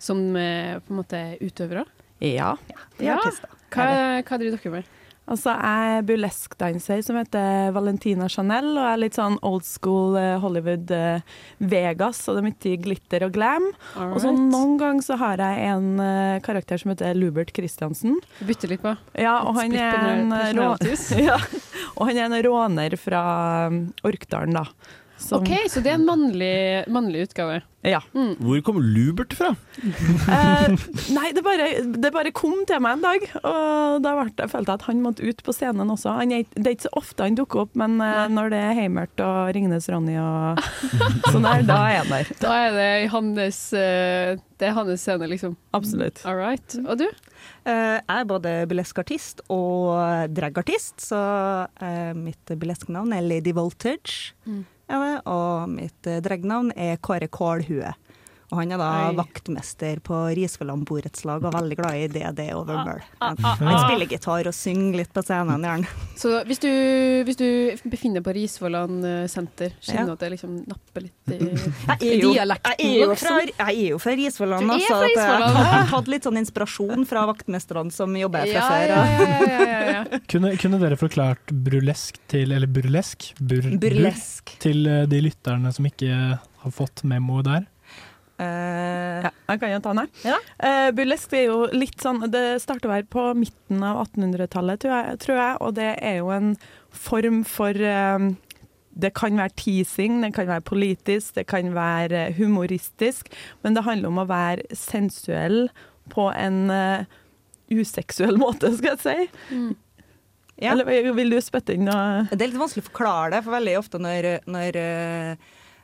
C: som eh, på en måte utøvere?
L: Ja.
A: vi er artister.
C: Hva, hva driver dere med?
L: Altså, jeg er burleskdanser som heter Valentina Chanel, og jeg er litt sånn old school eh, Hollywood eh, Vegas, og det er mye glitter og glam. Og så
C: Alright.
L: noen ganger så har jeg en eh, karakter som heter Lubert Christiansen.
C: Du bytter litt på.
L: Ja, og han
C: Split
L: er en eh,
C: personal-
L: rå-
C: personalities.
L: ja, og han er en råner fra um, Orkdalen, da. Som-
C: OK, så det er en mannlig, mannlig utgave.
L: Ja.
D: Hvor kom Lubert fra?
L: Eh, nei, det bare, det bare kom til meg en dag, og da ble jeg, følte jeg at han måtte ut på scenen også. Han er, ikke- det er ikke så ofte han dukker opp, men eh, når det er Heimert og Ringnes Ronny og sånn der, da er han der.
C: Da er det i hans, eh, det er hans scene, liksom.
L: Absolutt.
C: All right. Og du?
A: Eh, Jeg er både burleskartist og dragartist, så eh, mitt burlesknavn er Lady Voltage.
C: Mm.
A: er det, og mitt eh, dragnavn er Kåre Kålhue. Og han er da
C: Oi.
A: vaktmester på Risvolland borettslag og veldig glad i DD og Vømmøl.
C: Ah,
A: Han
C: ah,
A: han
C: ah.
A: spiller gitar og synger litt på scenen, gjerne.
C: Så hvis du, hvis du befinner deg på Risvolland eh, senter, kjenner du
A: Ja.
C: at det liksom napper litt i
A: Jeg er jo, jeg
C: dialekten?
A: er jo, fra,
C: liksom?
A: jeg er jo fra Risvolland,
C: Du er
A: altså,
C: fra
A: at jeg har
C: Risvolland.
A: tatt- tatt litt sånn inspirasjon fra vaktmesterne som jobber her fra før. og-
J: Kunne, kunne dere forklart burlesk til Eller burlesk? Bur, bur-
A: Burlesk.
J: til eh, de lytterne som ikke har fått memo der.
L: ja, jeg kan jo ta den her. Eh, burlesk det er jo litt sånn Det starter vel på midten av 1800-tallet, tror, jeg- tror jeg, og det er jo en form for eh, det kan være teasing, det kan være politisk, det kan være humoristisk, men det handler om å være sensuell på en eh, useksuell måte, skal jeg si.
C: Mm,
A: Ja.
L: Eller eh, vil du spytte inn noe?
A: Det er litt vanskelig å forklare det, for veldig ofte når, når eh,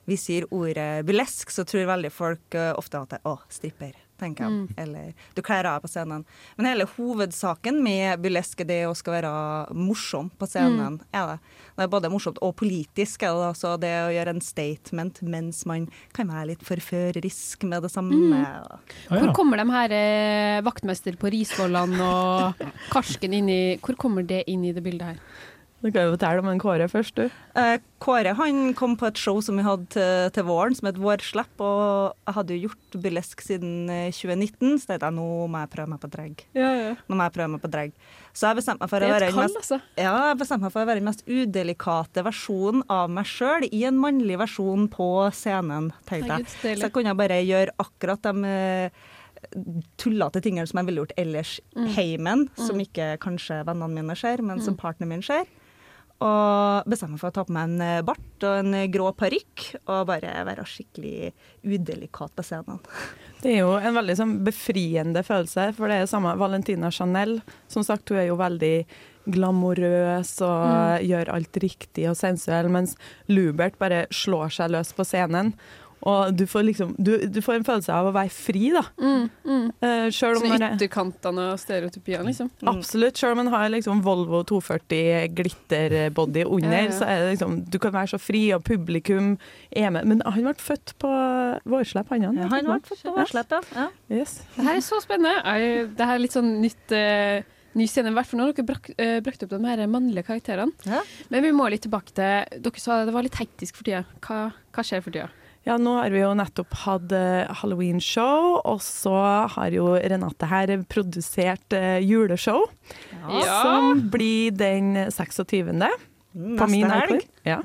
A: vi sier ordet burlesk, så tror veldig folk eh, ofte at det er å, stripper, tenker jeg.
K: Mm.
A: Eller du kler av på scenen. Men hele hovedsaken med burlesk er det å skal være morsom på
L: Mm.
A: scenen. Er det. det er både morsomt og politisk, er det da. Så det å gjøre en statement mens man kan være litt forførerisk med det samme.
C: Mm.
A: Ah, ja.
C: Hvor kommer de her eh, vaktmester på Risvolland og Karsken inn i Hvor kommer det inn i det bildet her?
L: Du kan jo fortelle om en Kåre først, du.
A: Eh, Kåre han kom på et show som vi hadde til, til våren, som het Vårslepp. Og jeg hadde jo gjort burlesk siden eh, 2019, så tenkte jeg nå må jeg prøve meg på drag. Nå må jeg prøve meg på drag. Så jeg bestemte meg for
C: Det
A: å
C: er et
A: være den
C: kall,
A: mest,
C: altså.
A: ja, jeg bestemte meg for å være den mest udelikate versjonen av meg sjøl i en mannlig versjon på scenen, tenkte
C: Herregud,
A: jeg.
C: så deilig.
A: Så jeg kunne bare gjøre akkurat de eh, tullete tingene som jeg ville gjort ellers
K: Mm.
A: heimen, som
K: Mm.
A: ikke kanskje vennene mine ser, men som
K: Mm.
A: partneren min ser. Og bestemte meg for å ta på meg en eh, bart og en eh, grå parykk og bare være skikkelig udelikat på scenen.
L: Det er jo en veldig sånn befriende følelse, for det er samme Valentina Chanel. Som sagt, hun er jo veldig glamorøs og eh,
A: Mm.
L: gjør alt riktig og sensuell, mens Lubert bare slår seg løs på scenen. Og du får, liksom, du, du får en følelse av å være fri, da.
C: Mm, mm.
L: Eh, selv om
C: Sånn
L: det-
C: ytterkantene og stereotypiene, liksom.
L: Absolutt. Selv om en har liksom Volvo 240 glitterbody under,
C: Ja, ja.
L: så er det liksom Du kan være så fri, og publikum er med. Men han ble født på Vårslepp, han han.
A: han ble født på Vårslepp, ja.
L: Yes.
C: Det her er så spennende. Jeg, det her er litt sånn nytt, eh, ny scene. I hvert fall når dere brak, eh, brakte opp de her mannlige karakterene. Men vi må litt tilbake til Dere sa det var litt hektisk for tida. Hva, hva skjer for tida?
L: Ja, nå har vi jo nettopp hatt eh, Halloween-show, og så har jo Renate her produsert eh, juleshow,
C: Ja.
L: som blir den 26.
A: Mm, neste
L: på min
A: helg.
L: helg. Ja.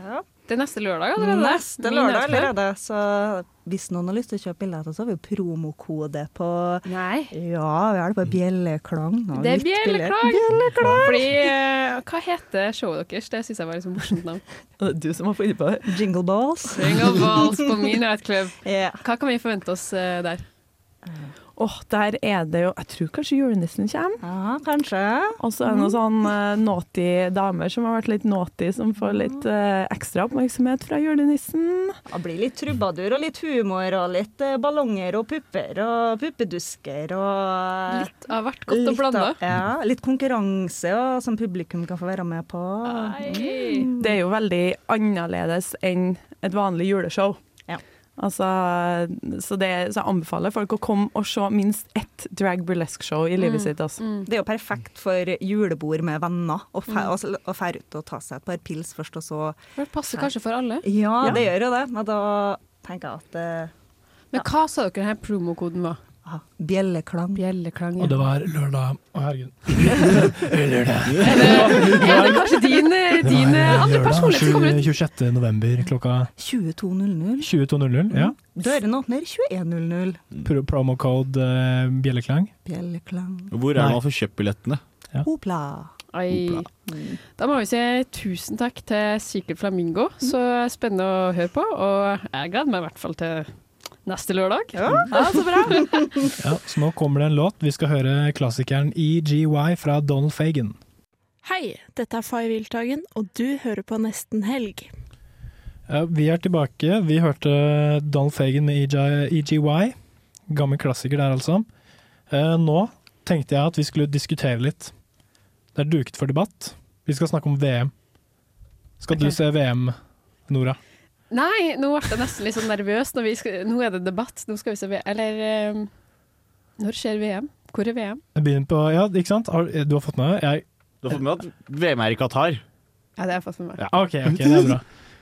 C: Det er neste lørdag allerede.
A: Neste
C: Min
A: lørdag
C: neste.
A: allerede. Så hvis noen har lyst til å kjøpe billetter, så har vi jo promokode på
C: Nei.
A: Ja, vi har det på Bjelleklang. og
C: Det er
A: litt billetter.
C: Bjelleklang!
A: Bjelleklang!
C: Fordi, eh, hva heter showet deres? Det syns jeg var liksom morsomt navn.
L: Du som har funnet på det.
A: Jingle balls.
C: Ring of Balls altså, på min nightclub. Hva kan vi forvente oss eh, der?
L: Åh, der er det jo Jeg tror kanskje julenissen kommer.
A: Ja, kanskje. Mm.
L: Og så er det noen sånn eh, naughty damer som har vært litt naughty, som får litt eh, ekstra oppmerksomhet fra julenissen.
A: Det blir litt trubadur og litt humor og litt eh, ballonger og pupper og puppedusker og
C: Litt av hvert godt og
A: Litt av-
C: blanda.
A: Ja, litt konkurranse og, som publikum kan få være med på.
L: Det er jo veldig annerledes enn et vanlig juleshow. Altså, så, det, så jeg anbefaler folk å komme og se minst ett drag burlesque-show i
M: Mm.
L: livet sitt. Altså.
A: Mm. Det er jo perfekt for julebord med venner, å dra ut og ta seg et par pils først, og så
C: Mm. Det passer kanskje for alle.
A: Ja, det gjør jo det, men da tenker jeg at eh, Ah,
C: Men hva sa dere denne promokoden var?
A: Bjelleklang.
C: Bjelleklang, ja.
B: Og det var lørdag. Å, herregud.
C: Er det kanskje din, eh, din eh, andre personlighet som kommer ut?
B: 26. november klokka
A: 22.00.
B: 22.00, ja.
A: Dørene åpner 21.00.
B: Pro Promocode eh, Bjelleklang.
A: Bjelleklang.
D: Hvor er det man får kjøpt billettene?
A: Hopla.
C: Ai. Da må vi si tusen takk til Secret Flamingo. Så spennende å høre på. Og jeg gleder meg i hvert fall til neste lørdag.
L: Ja, så bra.
B: Ja, så nå kommer det en låt. Vi skal høre klassikeren EGY fra Donald Fagan.
N: Hei, dette er Fay Wiltagen, og du hører på Nesten Helg.
B: Ja, vi er tilbake. Vi hørte eh, Donald Fagan med E EJ EGY. Gammel klassiker der, altså. Eh, Nå tenkte jeg at vi skulle diskutere litt. Det er duket for debatt. Vi skal snakke om VM. Skal du se VM, Nora?
C: Nei, nå ble jeg nesten litt sånn nervøs. Når vi skal, nå er det debatt. Nå skal vi se V- Eller eh, når skjer VM? Hvor er VM?
B: Jeg begynner på Ja, ikke sant? Har, eh, du har fått med deg? Jeg-
D: Du har fått med at VM er i Qatar.
C: Ja, det har jeg fått med meg.
D: Ja.
B: ah, OK, ok, det er bra.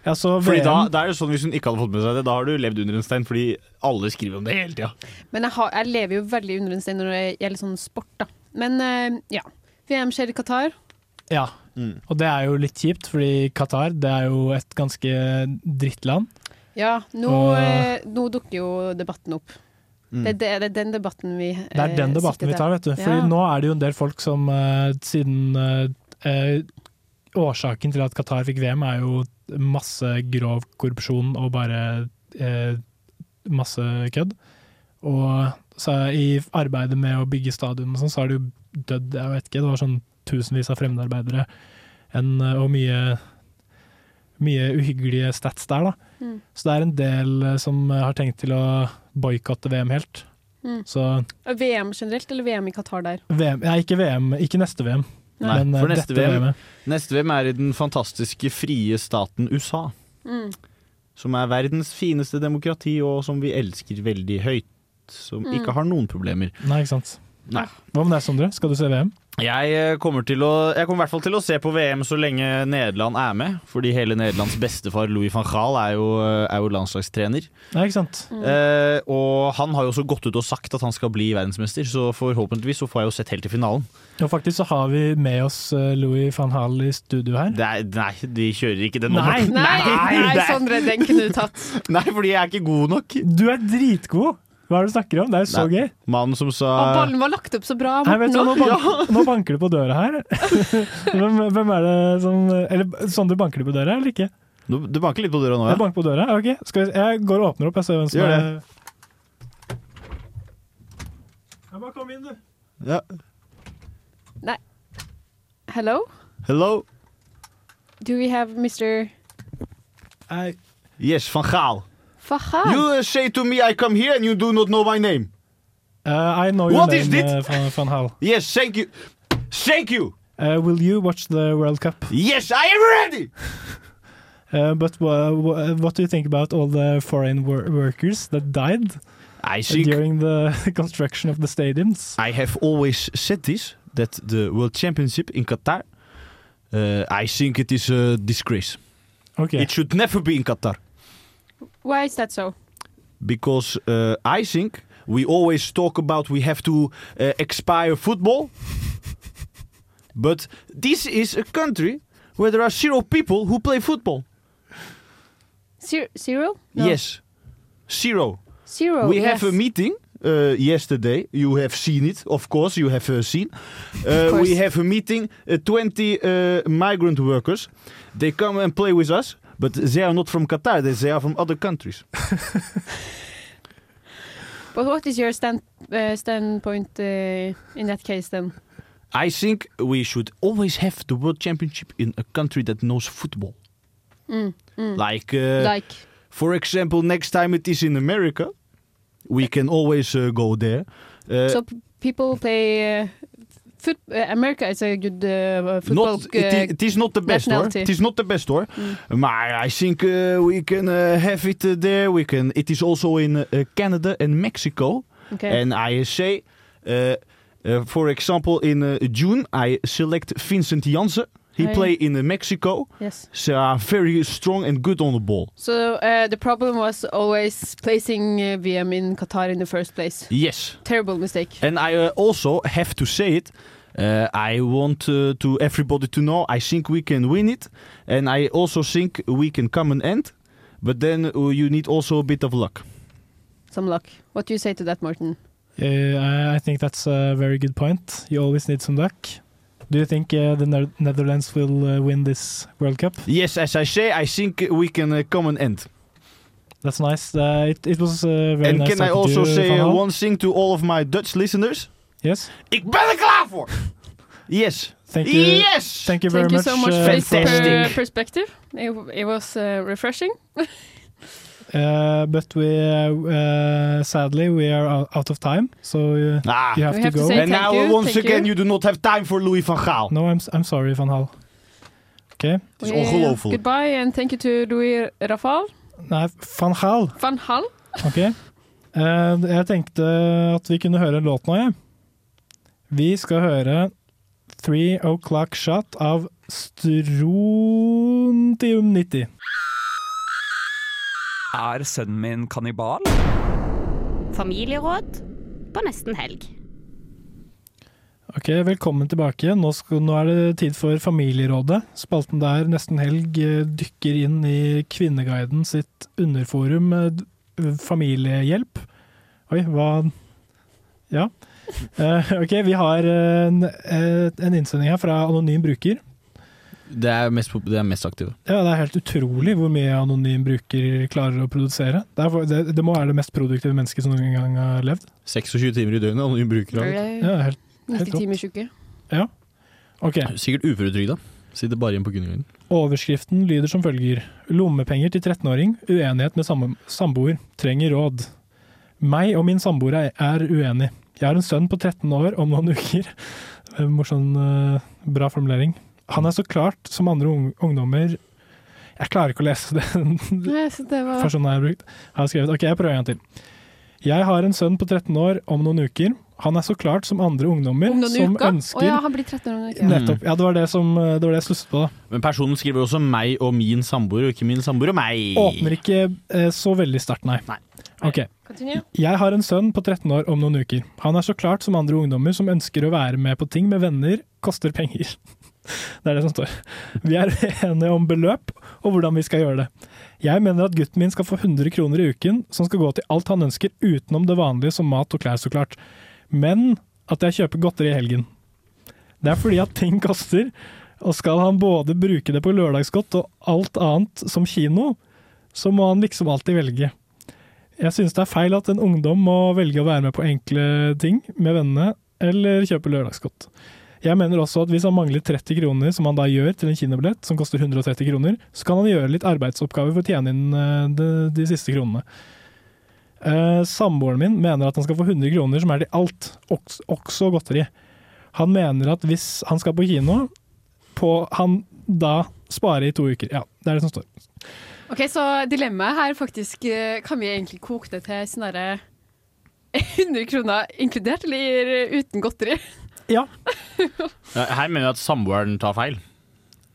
B: Ja, så
D: Fordi da,
B: VM
D: da er det sånn Hvis hun ikke hadde fått med seg det, da har du levd under en stein, fordi alle skriver om det hele tida.
C: Men jeg, har, jeg lever jo veldig under en stein når det gjelder sånn sport, da. Men eh, ja. VM skjer i Qatar.
B: Ja. Og det er jo litt kjipt, fordi Qatar det er jo et ganske drittland.
C: Ja, nå,
B: Og-
C: eh, nå dukker jo debatten opp.
B: Mm.
C: Det, det, det er den debatten vi eh,
B: Det er den debatten vi tar, vet du. Fordi nå er det jo en del folk som eh, siden eh, eh, Årsaken til at Qatar fikk VM er jo masse grov korrupsjon og bare eh, masse kødd. Og så i arbeidet med å bygge stadion og sånn, så har det jo dødd, jeg vet ikke, det var sånn tusenvis av fremmedarbeidere en, eh, og mye, mye uhyggelige stats der, da.
C: Mm.
B: Så det er en del eh, som har tenkt til å boikotte VM helt.
C: Mm.
B: Så
C: VM generelt, eller VM i Qatar der?
B: VM, nei, ikke VM, ikke neste VM.
D: Nei,
B: men, eh,
D: for neste
B: dette
D: VM,
B: VM-et.
D: neste VM er i den fantastiske frie staten USA. Som er verdens fineste demokrati, og som vi elsker veldig høyt. Som
B: Mm.
D: ikke har noen problemer.
B: Nei, ikke sant.
D: Nei.
B: Hva med deg, Sondre? Skal du se VM?
D: Jeg eh, kommer, til å, jeg kommer i hvert fall til å se på VM så lenge Nederland er med. Fordi hele Nederlands bestefar Louis van Gaal er jo, eh, er jo landslagstrener.
B: Nei, ikke sant.
D: Eh, og han har jo også gått ut og sagt at han skal bli verdensmester, så forhåpentligvis så får jeg jo sett helt til finalen.
B: Og faktisk så har vi med oss eh, Louis van Hall i studio her.
D: Nei, nei de kjører ikke den
B: Nei,
D: nummeren.
B: nei, sånn-
C: Nei,
D: det er-
C: Sondre, den kunne du tatt.
D: Nei, fordi jeg er ikke god nok.
B: Du er dritgod! Hva er det du snakker om? Det er jo så
D: Nei,
B: gøy.
D: Mannen som sa
C: Og ballen var lagt opp så bra.
B: Nei, vet du, nå,
C: Morten, nå.
B: bank, nå banker du på døra her. hvem, hvem er det som Eller Sondre, banker du på døra, eller ikke?
D: Du, du banker litt på døra nå,
B: Jeg banker på døra. Ok, Skal vi, jeg går og åpner opp. Jeg ser hvem som
D: Gjør
B: er
D: det.
B: Ja, bare kom inn, du.
D: ja.
C: Nei. Hello?
D: Hello?
C: Do we have Mr.
D: Yes, van Gaal.
C: Fahad.
D: You say to me I come here and you do not know my name.
B: Uh, I know your
D: What
B: name,
D: is this?
B: uh, Van, Van Hal.
D: Yes, thank you. Thank you.
B: Uh, will you watch the World Cup?
D: Yes, I am ready.
B: Uh, but wha- wha- what do you think about all the foreign wor- workers that died
D: I think-
B: during the construction of the stadiums?
D: I have always said this that the World Championship in Qatar, uh, I think it is a disgrace.
B: Okay.
D: It should never be in Qatar
C: Why is that so?
D: because uh, I think we always talk about we have to uh, expire football, but this is a country where there are zero people who play football.
C: Zer- Zero?
D: Yes, zero.
C: Zero.
D: we
C: yes.
D: have a meeting uh, yesterday. You have seen it, of course. You have uh, seen.
C: Of
D: Uh,
C: course.
D: we have a meeting. Uh, Twenty uh, migrant workers. They come and play with us, but they are not from Qatar. They, they are from other countries.
C: But what is your stand, uh, standpoint uh, in that case then?
D: I think we should always have the world championship in a country that knows football.
C: Mm, mm.
D: Like, uh,
C: Like.
D: for example, next time it is in America, we can always uh, go there. Uh,
C: so p- people play uh, foot. Uh, America is a good uh, football.
D: not, it, i-
C: uh,
D: it is not the best hoor.
C: nationality.
D: Het is not the best hoor.
C: Mm.
D: Maar I think uh, we can uh, have it uh, there. We can. It is also in uh, Canada and Mexico.
C: Okay.
D: And I say, uh, uh, for example, in uh, June I select Vincent Janssen. He
C: Hey.
D: play in uh, Mexico.
C: Yes.
D: They are very strong and good on the ball.
C: So uh, the problem was always placing uh, VM in Qatar in the first place.
D: Yes.
C: Terrible mistake.
D: And I uh, also have to say it. Uh, I want uh, to everybody to know. I think we can win it, and I also think we can come an end. But then uh, you need also a bit of luck.
C: Some luck. What do you say to that, Morten?
B: Uh, I- I think that's a very good point. You always need some luck. Do you think uh, the Ner- Netherlands will uh, win this World Cup?
D: Yes, as I say, I think we can uh, come an end.
B: That's nice. Uh, it, it was uh, very
D: and
B: nice.
D: can I
B: talking to
D: also
B: you,
D: say
B: Van
D: uh,
B: Hal.
D: one thing to all of my Dutch listeners?
B: Yes.
D: Ik ben er klaar voor. Yes.
B: Thank you.
D: Yes.
B: Thank you very
C: Thank you
B: much.
C: so much
B: uh,
C: for this per-
D: Fantastic.
C: perspective. It, it was uh, refreshing.
B: Uh, but we uh, uh, sadly we are out- out of time, so uh,
D: Ah.
B: you have
C: We
B: to
C: have to
B: go.
C: say And thank now, you,
D: once thank again, you. do not have time for Louis van Gaal.
B: No, I'm s- I'm sorry, van Hal. Okay.
D: Het is
C: We- uh,
D: ongelooflijk.
C: Goodbye and thank you to Louis Rafal.
B: Nei, van Gaal.
C: Van Hal.
B: Ok. Eh, jeg tenkte at vi kunne høre en låt nå, jeg. Vi skal høre Three O'Clock Shot av Strontium 90.
O: Er sønnen min kannibal?
M: Familieråd på nesten helg.
B: Ok, Velkommen tilbake. Nå, skal, nå er det tid for Familierådet. Spalten der Nesten Helg eh, dykker inn i Kvinneguiden sitt underforum eh, d- familiehjelp. Oi, hva Ja. Eh, ok, vi har en, eh, en innsending her fra anonym bruker.
D: Det er mest, pop- det er mest aktive.
B: Ja, Det er helt utrolig hvor mye anonym bruker klarer å produsere. Det, er, for- det, det må være det mest produktive mennesket som noen gang har levd.
D: 26 timer i døgnet, og hun
C: Det
D: bruker det.
C: er
B: Ja, helt, helt
C: 90
B: rått.
C: timers uke.
B: Ja. Ok.
D: Sikkert uføretrygda. Sitter bare igjen på kundeguiden.
B: Overskriften lyder som følger. Lommepenger til 13-åring, uenighet med sam samboer, trenger råd. Meg og min samboer er- er uenig. Jeg har en sønn på 13 år om noen uker. Eh, Morsom, eh, bra formulering. Han er så klart som andre ung ungdommer Jeg klarer ikke å lese den
C: Nei, så det var
B: Personen jeg har brukt, har skrevet. Ok, jeg prøver en gang til. Jeg har en sønn på 13 år om noen uker. Han er så klart som andre ungdommer
C: om noen
B: som
C: uker. Å
B: ønsker
C: ja, han blir 13 år om noen uker.
B: Nettopp. Ja, det var det, som, eh, det var det jeg stusset på. da.
D: Men personen skriver også 'meg og min samboer', og ikke 'min samboer og meg'.
B: Åpner ikke eh, så veldig sterkt, nei. Ok.
C: Continue.
B: Jeg har en sønn på 13 år om noen uker. Han er så klart som andre ungdommer som ønsker å være med på ting med venner, koster penger. Det er det som står. Vi er enige om beløp og hvordan vi skal gjøre det. Jeg mener at gutten min skal få 100 kroner i uken, som skal gå til alt han ønsker utenom det vanlige som mat og klær, så klart. Men at jeg kjøper godteri i helgen. Det er fordi at ting koster, og skal han både bruke det på lørdagsgodt og alt annet som kino, så må han liksom alltid velge. Jeg synes det er feil at en ungdom må velge å være med på enkle ting med vennene, eller kjøpe lørdagsgodt. Jeg mener også at hvis han mangler 30 kroner, som han da gjør til en kinobillett, som koster 130 kroner, så kan han gjøre litt arbeidsoppgaver for å tjene inn eh, de, de siste kronene. Eh, Samboeren min mener at han skal få 100 kroner, som er til alt, oks- også godteri. Han mener at hvis han skal på kino, på han da sparer i to uker. Ja, det er det som står.
C: Ok, Så dilemmaet her faktisk eh, kan vi egentlig koke det til sånn derre 100 kroner inkludert eller uten godteri?
B: Ja.
D: Her mener jeg at samboeren tar feil.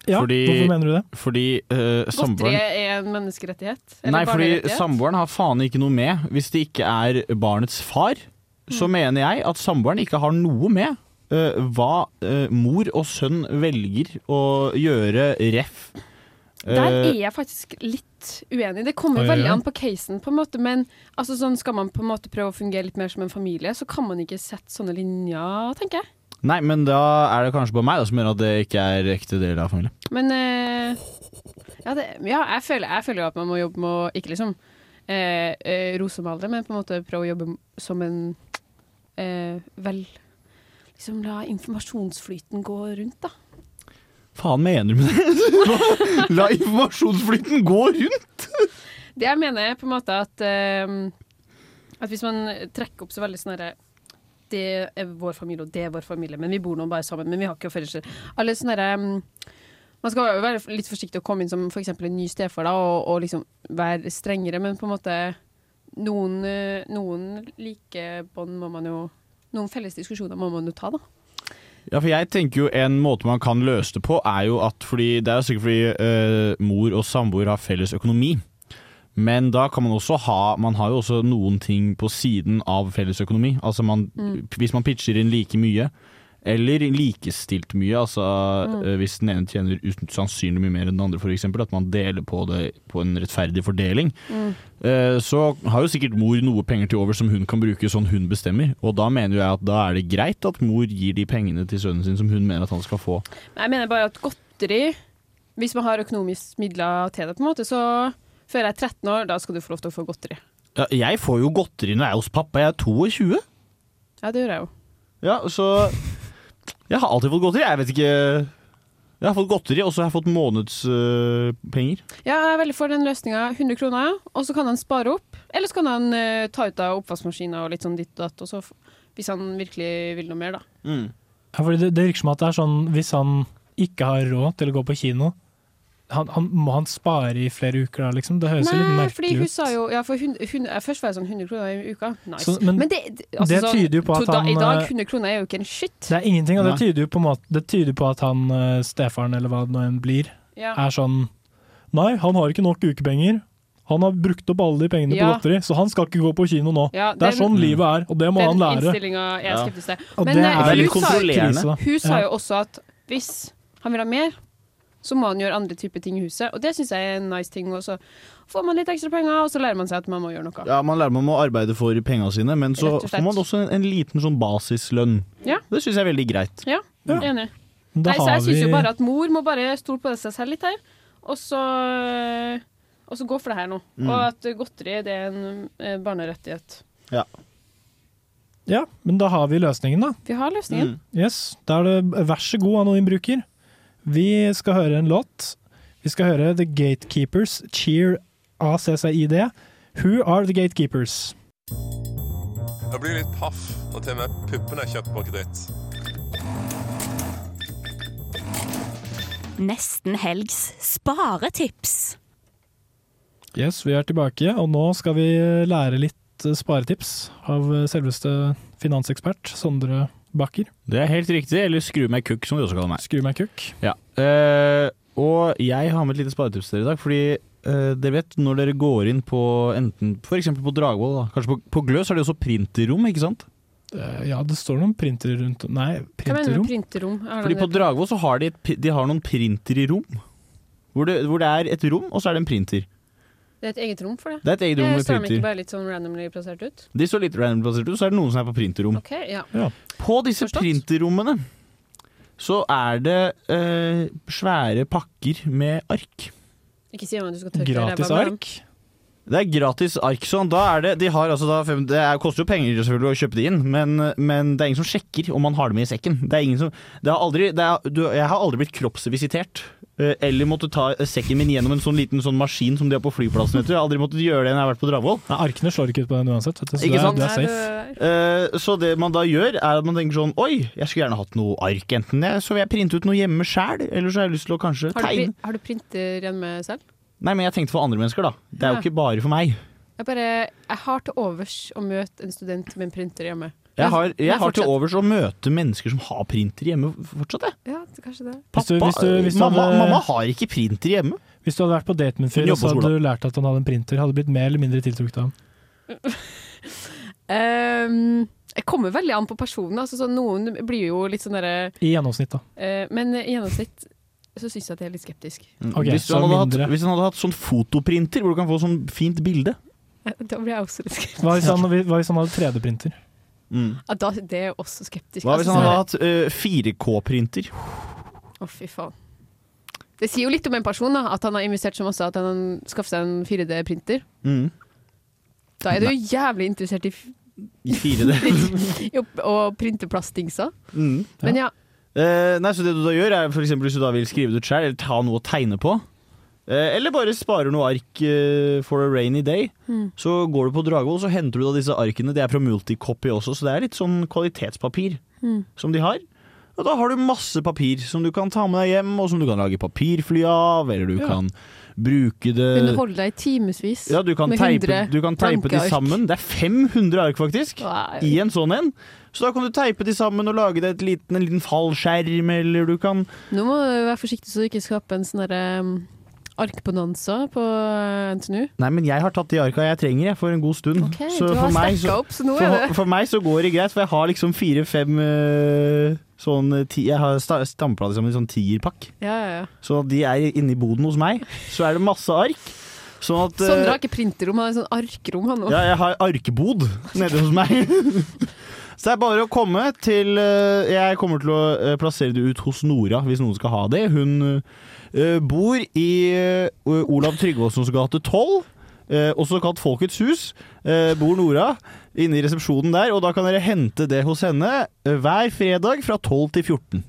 B: Ja, hvorfor mener du det?
D: Fordi eh,
C: Godteri
D: samboeren
C: er en menneskerettighet? eller
D: Nei, fordi
C: barnerettighet?
D: samboeren har faen ikke noe med. Hvis det ikke er barnets far,
C: Mm.
D: så mener jeg at samboeren ikke har noe med eh, hva eh, mor og sønn velger å gjøre ref.
C: Der
D: eh,
C: er jeg faktisk litt uenig. Det kommer
D: Oi,
C: veldig
D: oi, oi.
C: an på casen, på en måte. Men altså, sånn skal man på en måte prøve å fungere litt mer som en familie, så kan man ikke sette sånne linjer, tenker jeg.
D: Nei, men da er det kanskje på meg da, som mener at det ikke er ekte del av familien.
C: Men eh, ja, det, ja jeg, føler, jeg føler jo at man må jobbe med å ikke liksom eh, eh, rosemale det, men på en måte prøve å jobbe m- som en eh, vel Liksom la informasjonsflyten gå rundt, da.
D: Faen mener du med det? La informasjonsflyten gå rundt!
C: Det jeg mener er på en måte at ehm, At hvis man trekker opp så veldig sånn herre Det er vår familie, og det er vår familie, men vi bor nå bare sammen, men vi har ikke foreldre Alle sånne herre ehm, Man skal jo være litt forsiktig å komme inn som f.eks. en ny stefar da, og, og liksom være strengere, men på en måte Noen, eh, noen like bånd må man jo Noen felles diskusjoner må man jo ta, da.
D: Ja, for jeg tenker jo en måte man kan løse det på, er jo at fordi Det er jo sikkert fordi eh, mor og samboer har felles økonomi. Men da kan man også ha Man har jo også noen ting på siden av felles økonomi. Altså man,
P: Mm.
D: hvis man pitcher inn like mye, eller likestilt mye, altså
P: Mm.
D: eh, hvis den ene tjener usannsynlig mye mer enn den andre, f.eks., at man deler på det på en rettferdig fordeling,
P: Mm.
D: eh, så har jo sikkert mor noe penger til over som hun kan bruke sånn hun bestemmer. Og da mener jo jeg at da er det greit at mor gir de pengene til sønnen sin som hun mener at han skal få.
C: Men jeg mener bare at godteri Hvis man har økonomiske midler til det, på en måte, så før jeg er 13 år, da skal du få lov til å få godteri.
D: Ja, jeg får jo godteri når jeg er hos pappa, jeg er 22.
C: Ja, det gjør jeg jo.
D: Ja, så Jeg har alltid fått godteri. Jeg vet ikke Jeg har fått godteri, og så har jeg fått eh, månedspenger.
C: Ja, jeg er veldig for den løsninga. 100 kroner, og så kan han spare opp. Eller så kan han eh, ta ut av oppvaskmaskina og litt sånn ditt og datt, og så f- hvis han virkelig vil noe mer, da.
D: Mm.
B: Ja, fordi det, det virker som at det er sånn hvis han ikke har råd til å gå på kino, han, han, må han spare i flere uker da, liksom? Det høres jo litt
C: Nei, fordi
B: merkelig
C: hun
B: ut.
C: sa jo ja, for hun, hun, ja, Først var det sånn 100 kroner i uka. Nice.
B: Så- men det tyder jo på
C: altså sånn, to
B: at
C: da,
B: han,
C: I dag,
B: eh,
C: 100 kroner er jo ikke en shit.
B: Det er ingenting, og det
C: Nei.
B: tyder jo på, en måte, det tyder på at han eh, stefaren, eller hva det nå enn blir,
C: Ja.
B: er sånn Nei, han har ikke nok ukepenger. Han har brukt opp alle de pengene
C: Ja.
B: på godteri, så han skal ikke gå på kino nå.
C: Ja,
B: det er
C: den-
B: sånn livet er, og det må han
C: Den
B: lære.
C: innstillinga er jeg skeptisk til.
B: Og
C: Men
B: det
C: eh,
B: er
C: hun
B: litt
C: sa-
B: kontrollerende. Krise, da.
C: Hun sa
B: Ja.
C: jo også at hvis han vil ha mer, så må han gjøre andre typer ting i huset. Og det syns jeg er en nice ting. Og så får man litt ekstra penger, og så lærer man seg at man må gjøre noe.
D: Ja, Man lærer man å arbeide for penga sine, men så
C: Rett og slett.
D: får man også en, en liten sånn basislønn.
C: Ja.
D: Det syns jeg er veldig greit.
C: Ja, enig.
D: Da
C: Nei, så
D: har
C: jeg syns jo
D: vi-
C: bare at mor må bare stole på seg selv litt her, og så og så gå for det her nå.
B: Mm.
C: Og at godteri det er en eh, barnerettighet.
B: Ja, men da har vi løsningen, da.
C: Vi har
D: Mm.
C: løsningen.
B: Yes, Da er det vær så god, anonym bruker. Vi skal høre en låt. Vi skal høre The Gatekeepers, Cheer ACCID. Who are the gatekeepers?
Q: Jeg blir litt paff når til og med puppene er kjøpt på kreditt.
M: Nesten helgs sparetips.
B: Yes, vi er tilbake, og nå skal vi lære litt eh, sparetips av eh, selveste finansekspert Sondre Bakker.
D: Det er helt riktig. Eller skru meg kukk, som de også kaller meg.
B: Skru meg kukk.
D: Ja. Eh, og jeg har med et lite sparetips til dere i dag. Fordi eh, dere vet når dere går inn på enten f.eks. på Dragvoll, da. kanskje på, på Gløs, er det også printerrom, ikke sant?
B: Eh, Ja, det står noen printere rundt om Nei,
C: Hva mener du med
B: printerrom?
C: printerrom? Er
D: Fordi
C: det-
D: på Dragvoll så har de, et, pi- de har noen printer i rom. Hvor det, hvor det er et rom, og så er det en printer.
C: det er et eget rom for det?
D: Det er et eget rom med
C: Står de
D: printer.
C: ikke bare litt sånn randomly plassert ut?
D: De står litt random plassert ut, så er det noen som er på printerrom.
C: OK, ja.
D: På disse printerrommene så er det eh, svære pakker med ark.
C: Ikke si meg at du skal tørke
D: Gratis
C: ræva med
D: ark?
C: dem.
D: Det er gratis ark. Sånn. Da er det, de har altså da fem, det er, koster jo penger selvfølgelig å kjøpe de inn, men, men det er ingen som sjekker om man har det med i sekken. Det er ingen som, det har aldri, det er, du, jeg har aldri blitt kroppsvisitert. eh, Eller måttet ta sekken min gjennom en sånn liten sånn maskin som de har på flyplassen. Vet du. Jeg har aldri måttet gjøre det når jeg har vært på Dragvoll.
B: Nei, arkene slår ikke ut på den uansett. Vet du, så
D: Ikke
C: sånn
D: sant?
B: Du er safe.
D: Eh, så det man da gjør, er at man tenker sånn Oi, jeg skulle gjerne hatt noe ark. Enten jeg, så vil jeg printe ut noe hjemme sjæl, eller så har jeg lyst til å kanskje
C: Har du,
D: tegne.
C: pri- har du printer hjemme selv?
D: Nei, men jeg tenkte for andre mennesker, da. Det er jo
C: Ja.
D: ikke bare for meg.
C: Jeg, bare, jeg har til overs å møte en student med en printer hjemme.
D: Jeg har,
C: Men
D: jeg har til
C: fortsatt-
D: overs å møte mennesker som har printer hjemme fortsatt, jeg.
C: Ja, det- kanskje det.
B: Hvis du-
D: Pappa-
B: hvis du- hvis du
D: mamma,
B: hadde-
D: mamma har ikke printer hjemme.
B: Hvis du hadde vært på date med en
D: Hun
B: fyr, og
D: jobber
B: så
D: på
B: hadde du lært at han hadde en printer, hadde du blitt mer eller mindre tiltrukket av ham.
C: Ehm, jeg kommer veldig an på personen. Altså, sånn, noen blir jo litt sånn derre
B: I gjennomsnitt, da.
C: eh, Men i gjennomsnitt så syns jeg at jeg er litt skeptisk.
B: Mm. Ok,
D: hvis,
B: så
D: han hadde
B: mindre.
D: hatt, hvis han hadde hatt sånn fotoprinter hvor du kan få sånn fint bilde.
C: Eh, Da blir jeg også litt skeptisk.
B: Hva hvis han, hva hvis han hadde 3D-printer?
C: Ja, da, det er jeg også skeptisk.
D: Mm. Hva hvis
C: Altså,
D: han hadde
C: sånn
D: hatt eh, 4K-printer?
C: derre- Å, fy faen. Det sier jo litt om en person, da, at han har investert så masse at han skaffer seg en 4D-printer.
D: Mm.
C: Da er du jo jævlig interessert i, f-
D: I 4D.
C: i å, å printe plastdingser.
D: Mm.
C: Men ja,
D: Eh, nei, så det du da gjør er for eksempel hvis du da vil skrive det ut selv Eller ta noe å tegne på eh, Eller bare sparer noe ark eh, for a rainy day
C: Mm.
D: Så går du på Dragvoll Så henter du da disse arkene De er fra Multicopy også Så det er litt sånn kvalitetspapir
C: Mm.
D: Som de har Og da har du masse papir som du kan ta med deg hjem Og som du kan lage papirfly av Eller du
C: Ja.
D: kan bruke det
C: underholde deg i timevis
D: ja, du kan
C: med
D: teipe,
C: 100
D: du kan teipe de
C: blanke ark.
D: sammen. Det er 500 ark, faktisk,
C: Wow.
D: i en sånn en. Så da kan du teipe de sammen og lage deg et liten, en liten fallskjerm, eller du kan
C: Nå må du være forsiktig så du ikke skaper en sånn derre um, arkbonanza på eh, NTNU.
D: Nei, men jeg har tatt de arka jeg trenger jeg, for en god stund.
C: Ok, du har stacka opp, så nå er
D: for,
C: det-
D: for meg så går det greit, for jeg har liksom fire-fem øh, sånn øh, ti, Jeg har sta- stampla det sammen i sånn tierpakk.
C: Ja, ja, ja.
D: Så de er inne i boden hos meg. Så er det masse ark. Sånn at øh,
C: Sondre har ikke printerrom, han har sånn arkrom. Han, også.
D: Ja, jeg har arkebod nede hos meg. Så det er bare å komme til eh, Jeg kommer til å eh, plassere det ut hos Nora, hvis noen skal ha det. Hun eh, bor i eh, Olav Tryggvassons gate 12. eh, også kalt Folkets hus. eh, bor Nora inne i resepsjonen der. Og da kan dere hente det hos henne eh, hver fredag fra 12 til 14.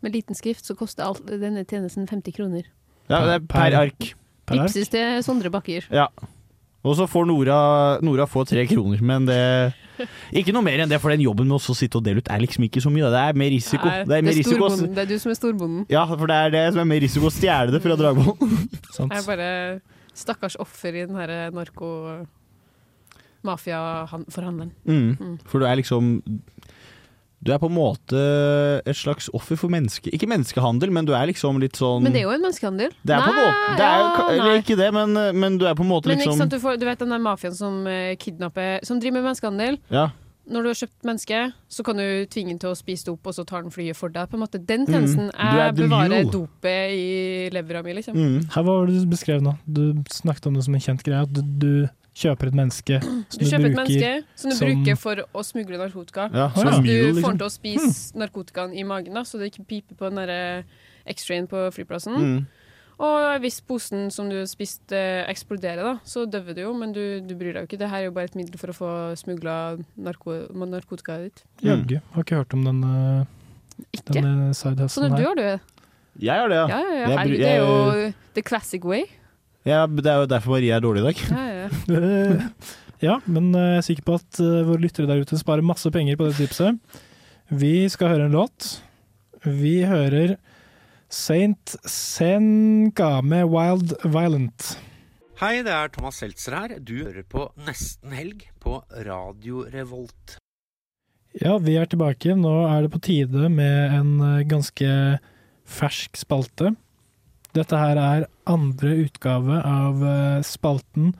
C: Med liten skrift så koster alt, denne tjenesten 50 kroner.
D: Ja, det er per ark.
C: Vipses til Sondre Bakker.
D: Ja. Og så får Nora, Nora får tre kroner, men det Ikke noe mer enn det, for den jobben med å sitte og dele ut er liksom ikke så mye. da. Det er mer risiko.
C: Nei,
D: det er mer risiko å-
C: storbonden. det er du som er storbonden.
D: ja, for det er det som er mer risiko å stjele det fra Dragvoll.
C: Jeg er bare stakkars offer i den her eh, narko... Mafia-forhandleren.
D: Mm. For du er liksom Du er på en måte et slags offer for menneske... Ikke menneskehandel, men du er liksom litt sånn
C: Men det er jo en menneskehandel.
D: Det er på en måte det er jo, ka- Eller ikke det, men, men du er på en måte
C: Men
D: liksom
C: ikke sant, du, får, du vet den der mafiaen som eh, kidnapper Som driver med menneskehandel.
D: Ja.
C: Når du har kjøpt mennesket, så kan du tvinge den til å spise dop, og så tar den flyet for deg. på en måte. Den tjenesten
B: Mm. Du er
C: Jeg
B: the Mm.
C: bevarer
B: mule.
C: dopet i levra mi, liksom.
D: mm.
B: Her, hva var det du beskrev nå? Du snakket om det som en kjent greie. At du, du kjøper et menneske som
C: Du kjøper et menneske som du
B: som-
C: bruker for å smugle narkotika.
B: Ja,
C: så
B: ja.
C: at du
B: Mule,
C: får
B: liksom.
C: den til å spise narkotikaen i magen, da, så det ikke piper på den der, eh, X-trayen på flyplassen.
B: Hmm.
D: Mm.
C: Og hvis posen som du spiste eh, eksploderer, da, så døver du jo, men du, du bryr deg jo ikke. Det her er jo bare et middel for å få smugla narko narkotikaet ditt.
B: Jaggu. Har ikke hørt om den, eh, denne
C: Så når
B: sidehustlen
C: Sånn du
B: sånn her.
C: har det
D: Jeg gjør det, ja.
C: Ja, ja, ja.
D: Jeg
C: Herregud,
D: bru-
C: det er
D: jeg-
C: jo the classic way.
D: Ja, det er jo derfor Marie er dårlig i dag.
C: Ja, ja.
B: Eh, ja, men eh, jeg er sikker på at eh, våre lyttere der ute sparer masse penger på det tipset. Vi skal høre en låt. Vi hører Saint Senka med Wild Violent.
P: Hei, det er Thomas Seltzer her. Du hører på Nesten Helg på Radio Revolt.
B: Ja, vi er tilbake. Nå er det på tide med en eh, ganske fersk spalte. Dette her er andre utgave av eh, spalten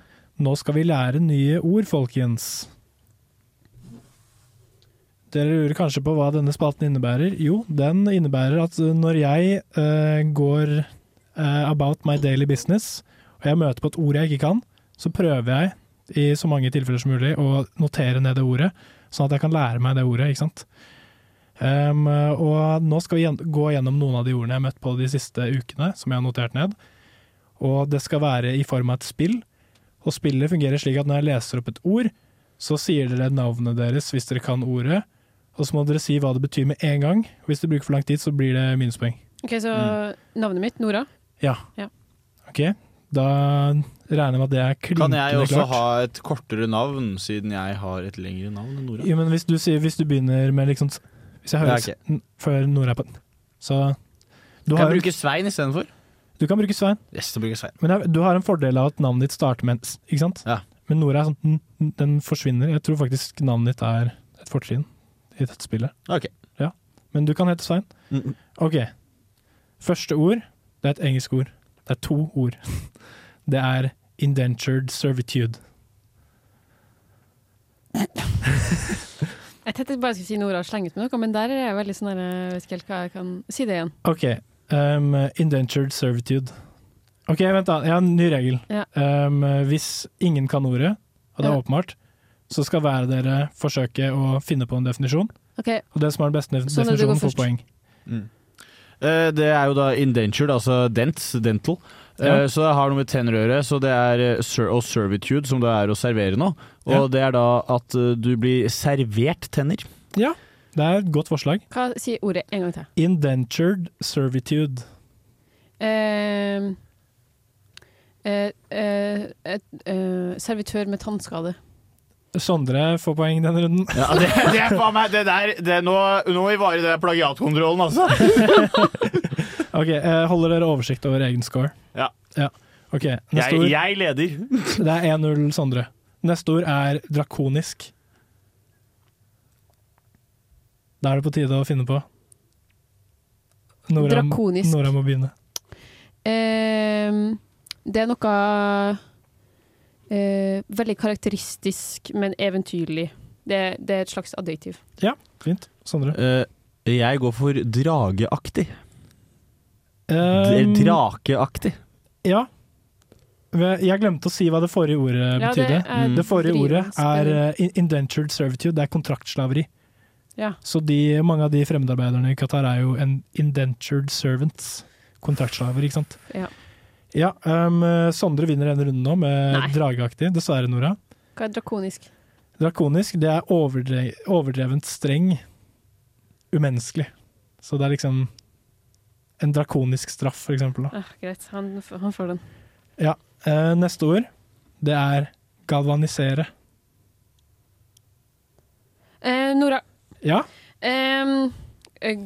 B: Nå skal vi lære nye ord, folkens. Dere lurer kanskje på hva denne spalten innebærer. Jo, den innebærer at eh, når jeg eh, går eh, about my daily business, og jeg møter på et ord jeg ikke kan, så prøver jeg i så mange tilfeller som mulig å notere ned det ordet, sånn at jeg kan lære meg det ordet, ikke sant. Ehm, og nå skal vi gjen- gå gjennom noen av de ordene jeg har møtt på de siste ukene, som jeg har notert ned. Og det skal være i form av et spill. Og spillet fungerer slik at når jeg leser opp et ord, så sier dere navnet deres hvis dere kan ordet. Og så må dere si hva det betyr med en gang. Hvis dere bruker for lang tid, så blir det minuspoeng.
C: Ok, Så
B: Mm.
C: navnet mitt, Nora.
B: Ja.
C: Ja.
B: Ok, da regner jeg med at det er
D: Kan
B: klinkende klart.
D: jeg også ha et kortere navn, siden jeg har et lengre navn enn Nora?
B: Jo, men hvis du, sier, hvis du begynner med liksom Hvis jeg hører
D: Ja, ok.
B: s- n- før Nora er på den, så du
D: kan
B: har,
D: jeg bruke Svein istedenfor?
B: du kan bruke Svein.
D: Yes, da bruker jeg Svein.
B: Men det er- du har en fordel av at navnet ditt starter med en s, ikke sant? Men Nora er sånn n- n- Den forsvinner. Jeg tror faktisk navnet ditt er et fortrinn i dette spillet.
D: Ok.
B: Ja. Men du kan hete Svein. Ok. Første ord, det er et engelsk ord. Det er to ord. Det er indentured servitude.
C: Jeg tenkte bare jeg skulle si Nora og slenge ut med noe, men der er jeg veldig sånn der, jeg vet ikke helt hva jeg kan Si det igjen.
B: Ok, um, indentured servitude. Ok, vent da, jeg har en ny regel.
C: Ja.
B: Um, hvis ingen kan ordet, og det er
C: Ja.
B: åpenbart, så skal hver av dere forsøke å finne på en definisjon.
C: Ok,
B: Og det som har den beste
C: Sånn at du går
B: definisjonen får
C: først.
B: poeng.
D: Mm. Eh, Det er jo da indentured, altså dents, dental. Eh,
B: Ja.
D: Så det har noe med tenner å gjøre. Så det er eh, ser og servitude, som det er å servere nå. Og
B: Ja.
D: det er da at eh, du blir servert tenner.
B: Ja, det er et godt forslag.
C: Hva sier ordet en gang til?
B: Indentured servitude.
C: Eh, eh, eh, et, eh, servitør med tannskade.
B: Sondre får poeng denne runden.
D: Ja, det, det er faen meg det der, det er nå, nå ivarer det plagiatkontrollen, altså.
B: Ok, eh, holder dere oversikt over egen score?
D: Ja.
B: Ok, neste
D: Jeg,
B: ord.
D: jeg leder.
B: Det er 1-0 Sondre. Neste ord er drakonisk. Da er det på tide å finne på. Nora,
C: Drakonisk.
B: Nora må begynne.
C: Eh, det er noe eh, veldig karakteristisk, men eventyrlig. Det, det er et slags adjektiv.
B: Ja, fint. Sondre.
D: Eh, Jeg går for drageaktig.
B: Um,
D: Dra- Drakeaktig.
B: Ja. Ve- Jeg glemte å si hva det forrige ordet
C: Ja, det
B: betydde.
C: er
B: Det, forrige ordet er
C: drivende
B: eh, in- indentured servitude, det er kontraktslaveri.
C: Ja.
B: Så de, mange av de fremmedarbeiderne i Qatar er jo en indentured servants. Kontraktslaver, ikke sant.
C: Ja.
B: Ja, ehm, Sondre vinner denne runden nå med
C: Nei.
B: drageaktig, dessverre, Nora.
C: Hva er drakonisk?
B: Drakonisk, det er overdre overdrevent streng, umenneskelig. Så det er liksom en drakonisk straff, for eksempel. Da.
C: Ah, greit, han, f- han får den.
B: Ja, eh, neste ord, det er galvanisere.
C: Eh, Nora.
B: Ja,
C: Eh,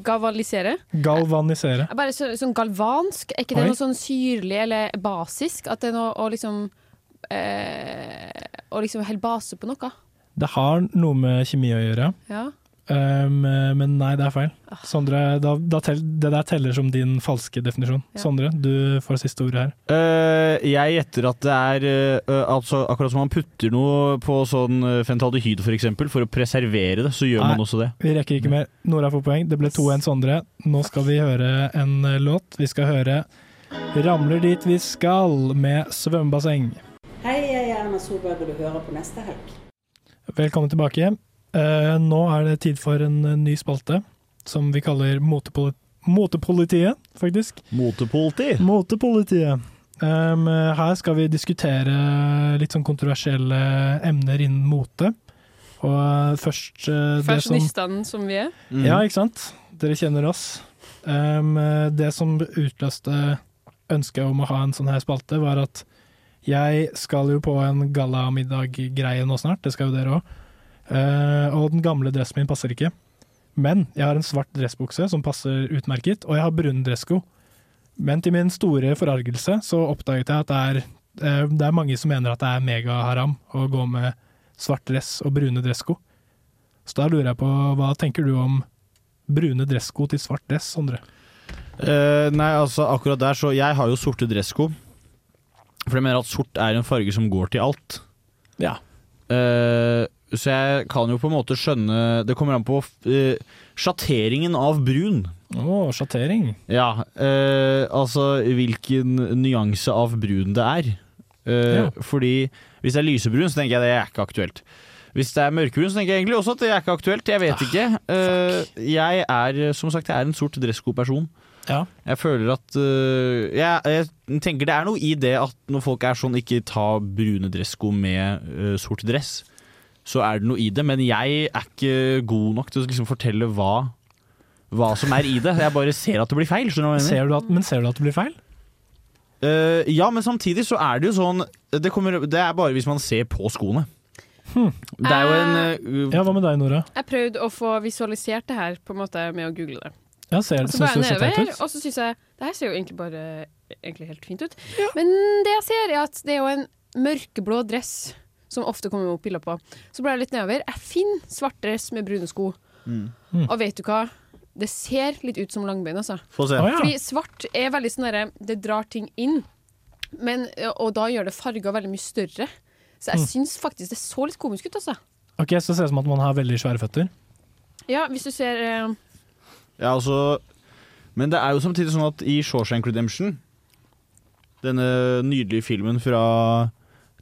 C: gavalisere.
B: galvanisere.
C: Bare så, sånn galvansk. Er ikke det
B: Oi.
C: noe sånn syrlig eller basisk? At det er noe å liksom eh, Å liksom helt base på noe?
B: Det har noe med kjemi å gjøre,
C: Ja.
B: ehm, men nei, det er feil. Sondre, da, da tell, det der teller som din falske definisjon. Sondre, du får siste ordet her.
D: Eh, jeg gjetter at det er eh, eh, altså, akkurat som man putter noe på sånn eh, fentaldehyd for eksempel, for å preservere det, så gjør
B: Nei.
D: man også det.
B: Vi rekker ikke mer. Nora får poeng. Det ble 2-1 Sondre. Nå skal vi høre en eh, låt. Vi skal høre 'Ramler dit vi skal' med svømmebasseng.
R: Hei, jeg er Erna Solberg, og du hører på neste helg.
B: Velkommen tilbake. Eh, nå er det tid for en eh, ny spalte som vi kaller motepoli Motepolitiet, faktisk.
D: Motepoliti?
B: Motepolitiet. Em, eh, her skal vi diskutere litt sånn kontroversielle emner innen mote. Og eh, først eh, det som
C: Fashionistene som vi er.
D: Mm.
B: Ja,
D: Mhm.
B: ikke sant? Dere kjenner oss. Em, eh, det som utløste ønsket om å ha en sånn her spalte, var at jeg skal jo på en gallamiddag-greie nå snart, det skal jo dere òg. og den gamle dressen min passer ikke. Men jeg har en svart dressbukse som passer utmerket, og jeg har brune dressko. Men til min store forargelse så oppdaget jeg at det er, eh, det er mange som mener at det er megaharam å gå med svart dress og brune dressko. Så da lurer jeg på, hva tenker du om brune dressko til svart dress, Sondre?
D: Eh, nei, altså akkurat der så Jeg har jo sorte dressko. For jeg mener at sort er en farge som går til alt.
B: Ja.
D: Eh, så jeg kan jo på en måte skjønne Det kommer an på eh, sjatteringen av brun.
B: Å, sjattering.
D: Ja, eh, altså hvilken nyanse av brun det er. Eh,
B: Ja.
D: Fordi hvis det er lysebrun, så tenker jeg det er ikke aktuelt. Hvis det er mørkebrun, så tenker jeg egentlig også at det er ikke aktuelt. Jeg vet ikke. Eh, jeg er som sagt jeg er en sort dressko-person.
B: Ja.
D: Jeg føler at eh, jeg, jeg tenker det er noe i det at når folk er sånn ikke ta brune dressko med eh, sort dress, så er det noe i det. Men jeg er ikke god nok til å liksom fortelle hva, hva som er i det. Jeg bare ser at det blir feil. Skjønner du hva jeg mener?
B: Ser du at, men ser du at det blir feil?
D: Eh, ja, men samtidig så er det jo sånn Det, kommer, det er bare hvis man ser på skoene. Hmm. Det er jo en eh,
B: Ja, hva med deg, Nora?
C: Jeg prøvde å få visualisert det her på en måte med å google det.
B: Ja, ser,
C: Og så
B: synes
C: går jeg
B: du det ser teit
C: Altså, nedover,
B: ut?
C: og så syns jeg det her ser jo egentlig bare egentlig helt fint ut. Men det jeg ser, er at det er jo en mørkeblå dress som ofte kommer opp bilder på. Så blar jeg litt nedover. Jeg finner svart dress med brune sko.
B: Mm.
C: Og vet du hva? Det ser litt ut som langbein, altså.
D: Få se. Å, ja.
C: Fordi svart er veldig sånn derre Det drar ting inn, men, og da gjør det farger veldig mye større. Så jeg
B: Mm.
C: syns faktisk det så litt komisk ut, altså.
B: Ok, Så ser det ut som at man har veldig svære føtter.
C: Ja, hvis du ser eh,
D: Ja, altså Men det er jo samtidig sånn at i Shawshank Redemption Denne nydelige filmen fra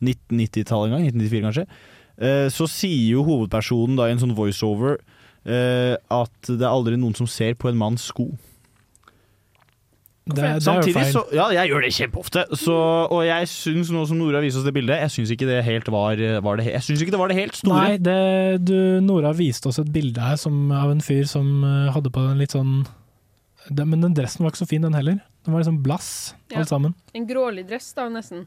D: 1990-tallet en gang, 1994 kanskje eh, Så sier jo hovedpersonen da i en sånn voiceover eh, At det er aldri noen som ser på en manns sko
B: Det, det er jo
D: Samtidig
B: feil.
D: så Ja, jeg gjør det kjempeofte. Så, og jeg syns, nå som Nora viser oss det bildet, jeg syns ikke det helt var, eh, var det, he- Jeg syns ikke det var det helt store.
B: Nei, det, du, Nora viste oss et bilde her som, av en fyr som eh, hadde på en litt sånn det, Men den dressen var ikke så fin, den heller. Den var liksom blass,
C: Ja.
B: alt sammen.
C: En grålig dress, da, nesten.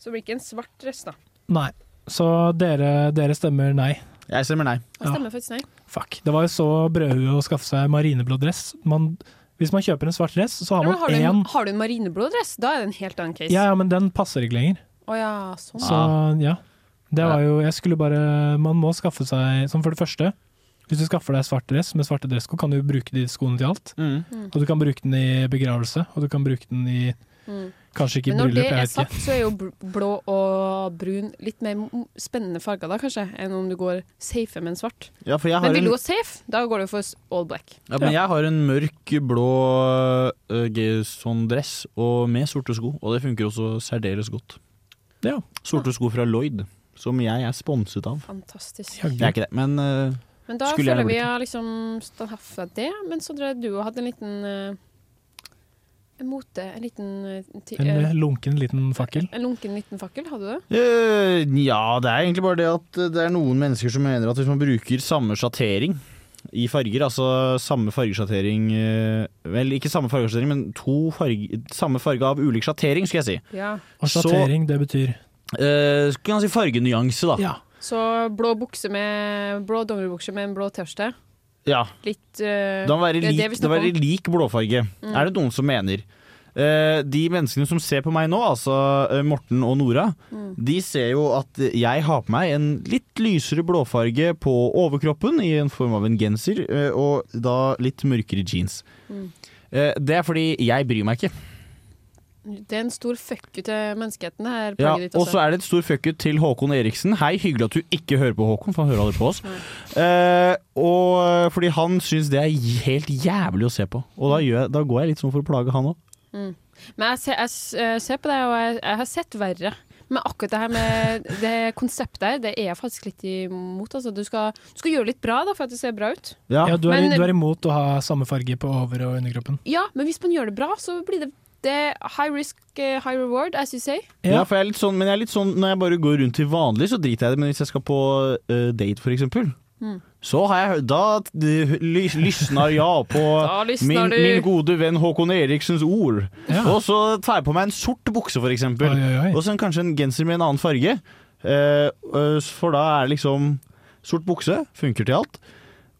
C: Så det blir ikke en svart dress, da.
B: Nei. Så dere, dere stemmer nei.
D: Jeg stemmer nei.
C: Jeg stemmer faktisk nei.
B: Fuck. Det var jo så brødhue å skaffe seg marineblå dress. Man, hvis man kjøper en svart dress, så
C: Ja,
B: har
C: men har,
B: man
C: du en,
B: én
C: har du en marineblå dress, da er det en helt annen case.
B: ja, ja, men den passer ikke lenger.
C: Å ja, sånn.
B: Så ja. Det var jo Jeg skulle bare Man må skaffe seg Som for det første, hvis du skaffer deg svart dress med svarte dressko, kan du jo bruke de skoene til alt.
D: Mm.
B: Og du kan bruke den i begravelse, og du kan bruke den i
C: Mm.
B: Kanskje ikke i
C: Men når
B: bryllup,
C: det
B: jeg
C: er
B: vet
C: sagt,
B: ikke.
C: så er jo bl- blå og brun litt mer m- spennende farger da, kanskje, enn om du går safe med en svart.
D: Ja, for jeg har
C: Men vil
D: en-
C: du gå safe, da går du for s- all black.
D: Ja, men jeg har en mørk blå uh, sånn dress og med sorte sko, og det funker også særdeles godt.
B: Ja.
D: Sorte sko fra Lloyd, som jeg er sponset av.
C: Fantastisk.
D: Jeg er ikke det, men eh,
C: Men da
D: skulle
C: føler
D: gjerne
C: vi
D: blitt det.
C: har liksom stått her for det, men så drev du og hadde en liten eh, en mote, en liten eh, ti-
B: En
C: eh,
B: eh, lunken liten fakkel.
C: en lunken liten fakkel, hadde du det?
D: Eh, Nja, det er egentlig bare det at det er noen mennesker som mener at hvis man bruker samme sjattering i farger, altså samme fargesjattering eh, Vel, ikke samme fargesjattering, men to farge, samme farge av ulik sjattering, skulle jeg si.
C: Ja.
B: Og sjattering, det betyr
D: Eh, skulle man si fargenyanse, da.
C: Så blå bukse med blå dongeribukse med en blå T-skjorte.
D: Ja.
C: Litt eh,
D: Da må være
C: det er
D: lik,
C: det vi
D: da må
C: snakker
D: være
C: om.
D: lik blåfarge,
C: Mm.
D: er det noen som mener. Eh, de menneskene som ser på meg nå, altså eh, Morten og Nora,
C: Mm.
D: de ser jo at jeg har på meg en litt lysere blåfarge på overkroppen, i en form av en genser, eh, og da litt mørkere jeans.
C: Mm.
D: Eh, det er fordi jeg bryr meg ikke.
C: Det er en stor fuck you til menneskeheten det her.
D: Ja,
C: plagget ditt,
D: og
C: altså.
D: så er det et stor fuck you til Håkon Eriksen. Hei, hyggelig at du ikke hører på Håkon, for han hører aldri på oss. Eh, og fordi han syns det er helt jævlig å se på. Og da, gjør jeg, da går jeg litt sånn for å plage han òg.
C: Mm. Men jeg ser, jeg s- eh, ser på deg, og jeg, jeg har sett verre. Men akkurat det her med det konseptet her, det er jeg faktisk litt imot. Altså. Du, skal, du skal gjøre litt bra da, for at det ser bra ut.
B: Ja, du, er,
C: Men-
B: du er imot å ha samme farge på over- og underkroppen.
C: Ja, men hvis man gjør det bra, så blir det, det er high risk, eh, high reward, as you say.
D: Ja, for jeg er litt sånn, men jeg er litt sånn når jeg bare går rundt til vanlig, så driter jeg i det. Men hvis jeg skal på eh, date, for eksempel,
C: Mm.
D: så har jeg hø- Da d- lys, lysner jeg på
C: Da lysner
D: min,
C: du.
D: min gode venn Håkon Eriksens ord.
B: Ja.
D: Og så tar jeg på meg en sort bukse, for eksempel.
B: Oi, oi, oi.
D: Og så en- kanskje en genser med en annen farge. Eh, eh, for da er det liksom Sort bukse funker til alt.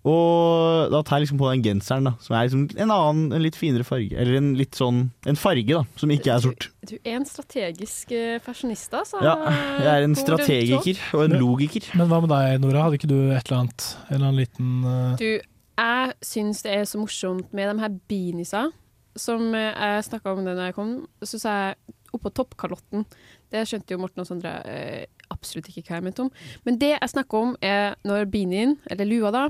D: Og da tar jeg liksom på den genseren, da, som er liksom en annen, en litt finere farge. Eller en litt sånn En farge, da, som ikke er sort.
C: Du er en strategisk eh, fashionista, så
D: Ja, jeg er en
C: god
D: strategiker og en logiker.
B: Men hva med deg, Nora? Hadde ikke du et eller annet En eller annen liten eh,
C: Du, jeg syns det er så morsomt med de her beaniesa som eh, jeg snakka om da jeg kom. Så sa jeg oppå toppkalotten. Det skjønte jo Morten og Sondre eh, absolutt ikke hva jeg mente om. Men det jeg snakker om, er når beanien, eller lua da,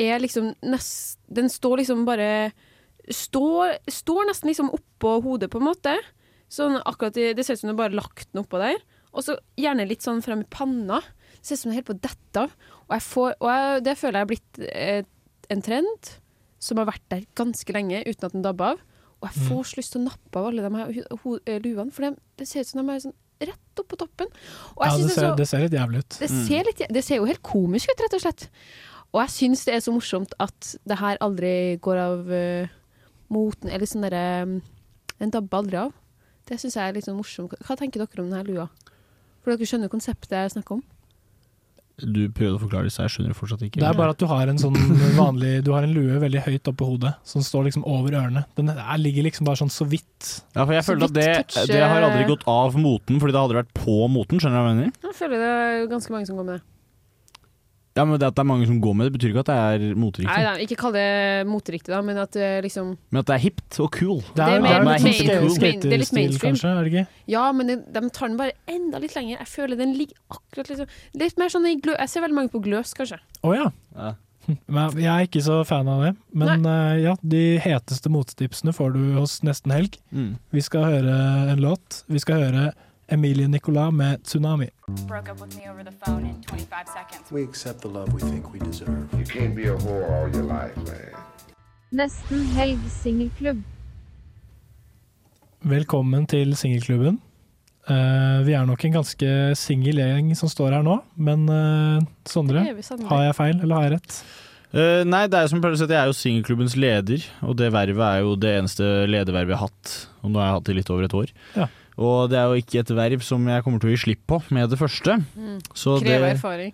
C: er liksom nest, Den står liksom bare Står, står nesten liksom oppå hodet, på en måte. Sånn akkurat i, Det ser ut som du bare har lagt den oppå der. Og så gjerne litt sånn frem i panna. ser ut som det holder på å dette av. Og, jeg får, og jeg, det føler jeg er blitt eh, en trend som har vært der ganske lenge uten at den dabber av. Og
B: Mm.
C: jeg får så lyst til å nappe av alle de her hu- ho- eh, luene, for det, det ser ut som de er sånn rett opp på toppen. Og jeg
B: Ja,
C: synes
B: det
C: er
B: ser,
C: så-
B: det ser litt jævlig ut.
C: det ser, litt, det ser jo helt komisk ut, rett og slett. Og jeg syns det er så morsomt at det her aldri går av eh, moten, eller sånn derre mm, Den dabber aldri av. Det syns jeg er litt sånn morsomt. Hva tenker dere om denne lua? For dere skjønner jo konseptet jeg snakker om.
D: Du prøvde å forklare det, så jeg skjønner det fortsatt ikke.
B: Det er bare at du har en sånn vanlig Du har en lue veldig høyt oppe på hodet, som står liksom over ørene. Den her ligger liksom bare sånn så vidt.
D: ja, for jeg
B: Så
D: føler at
B: vidt
D: det,
B: toucher-
D: det har aldri gått av moten, fordi det hadde vært på moten. Skjønner du hva jeg mener?
C: Jeg føler det er ganske mange som går med det.
D: Ja, men Det at det er mange som går med det, betyr ikke at det er
C: Nei,
D: moteriktig.
C: nei, ikke kall det moteriktig, da, men at det liksom
D: Men at det er hipt og cool.
C: Det er- Det er mer det er litt
D: hipt og
C: main-
D: cool.
C: main- det er litt mainstream.
B: sånn Kanskje, er det ikke?
C: Ja, men de, de tar den bare enda litt lenger. Jeg føler den ligger akkurat liksom Litt mer sånn i glø... Jeg ser veldig mange på gløs, kanskje.
B: Å ja. Men jeg er ikke så fan av det. Men eh, ja, de heteste motetipsene får du hos nesten helg.
D: Mm.
B: Vi skal høre en låt. Vi skal høre Emilie Nicolas med 'Tsunami'.
S: Broke up with me over the phone in 25 seconds.
T: We accept the love we think we deserve. You can't be a whore all your life, man.
U: Nesten helg singelklubb.
B: Velkommen til singelklubben. Eh, vi er nok en ganske singel gjeng som står her nå, men eh, Sondre,
C: Det er vi sannelig.
B: har jeg feil eller har jeg rett?
D: Eh, nei, det er jo som jeg pleier å si at jeg er jo singelklubbens leder, og det vervet er jo det eneste ledervervet jeg har hatt. Og nå har jeg hatt det i litt over et år.
B: Ja.
D: Og det er jo ikke et verv som jeg kommer til å gi slipp på med det første.
C: Mm.
D: Så
C: Krever
D: det,
C: erfaring.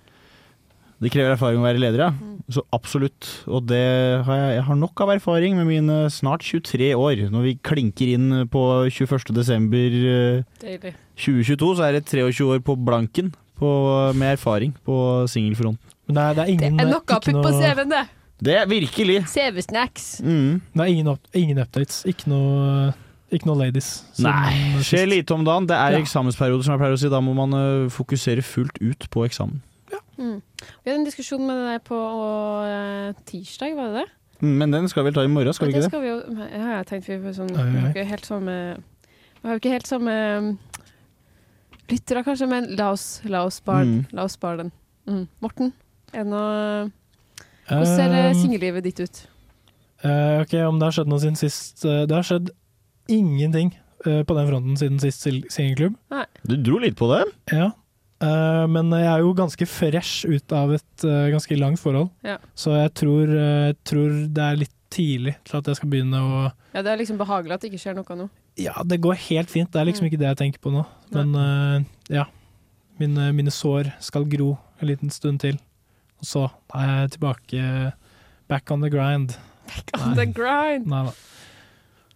D: det krever erfaring å være leder, ja. Så absolutt. Og det har jeg, jeg har nok av erfaring med mine snart 23 år. Når vi klinker inn på 21. desember eh,
C: Deilig.
D: 2022, så er det 23 år på blanken på, med erfaring på singelfronten.
B: Nei, det er ingen
C: Det er noe å putte på CV-en, det.
D: Det er virkelig.
C: CV-snacks.
D: Mm.
B: Det er ingen, opp, ingen updates. Ikke noe, ikke noe ladies. siden
D: Nei,
B: sist.
D: skjer lite om dagen. Det er
B: Ja.
D: eksamensperiode, som jeg pleier å si. Da må man ø, fokusere fullt ut på eksamen.
C: Mm. Vi hadde en diskusjon med det der på eh, tirsdag, var det det?
D: Mm, Men den skal vi vel ta i morgen, skal vi
C: Men
D: ikke
C: det?
D: det?
C: Skal vi jo, ja, jeg tenkte vi var sånn,
D: Oi, oi,
C: vi har
D: oi.
C: ikke helt samme Vi har jo ikke helt samme um, lyttere, kanskje, men la oss, la oss spare
B: Mm.
C: la oss spare den. Mm. Morten, er det noe hvordan ser eh,
B: Um,
C: singellivet ditt ut?
B: Eh, ok, om det har skjedd noe siden sist eh, Det har skjedd ingenting eh, på den fronten siden sist sil- singelklubb.
C: Nei.
D: Du dro litt på det.
B: Ja. Eh, men jeg er jo ganske fresh ut av et eh, ganske langt forhold,
C: Ja.
B: så jeg tror, eh, tror det er litt tidlig til at jeg skal begynne å
C: Ja, det er liksom behagelig at det ikke skjer noe nå.
B: Ja, det går helt fint. Det er liksom ikke det jeg tenker på nå. Men eh, ja. Mine, mine sår skal gro en liten stund til. Og så er jeg tilbake eh, back on the grind. Back
C: on the grind.
B: Nei da.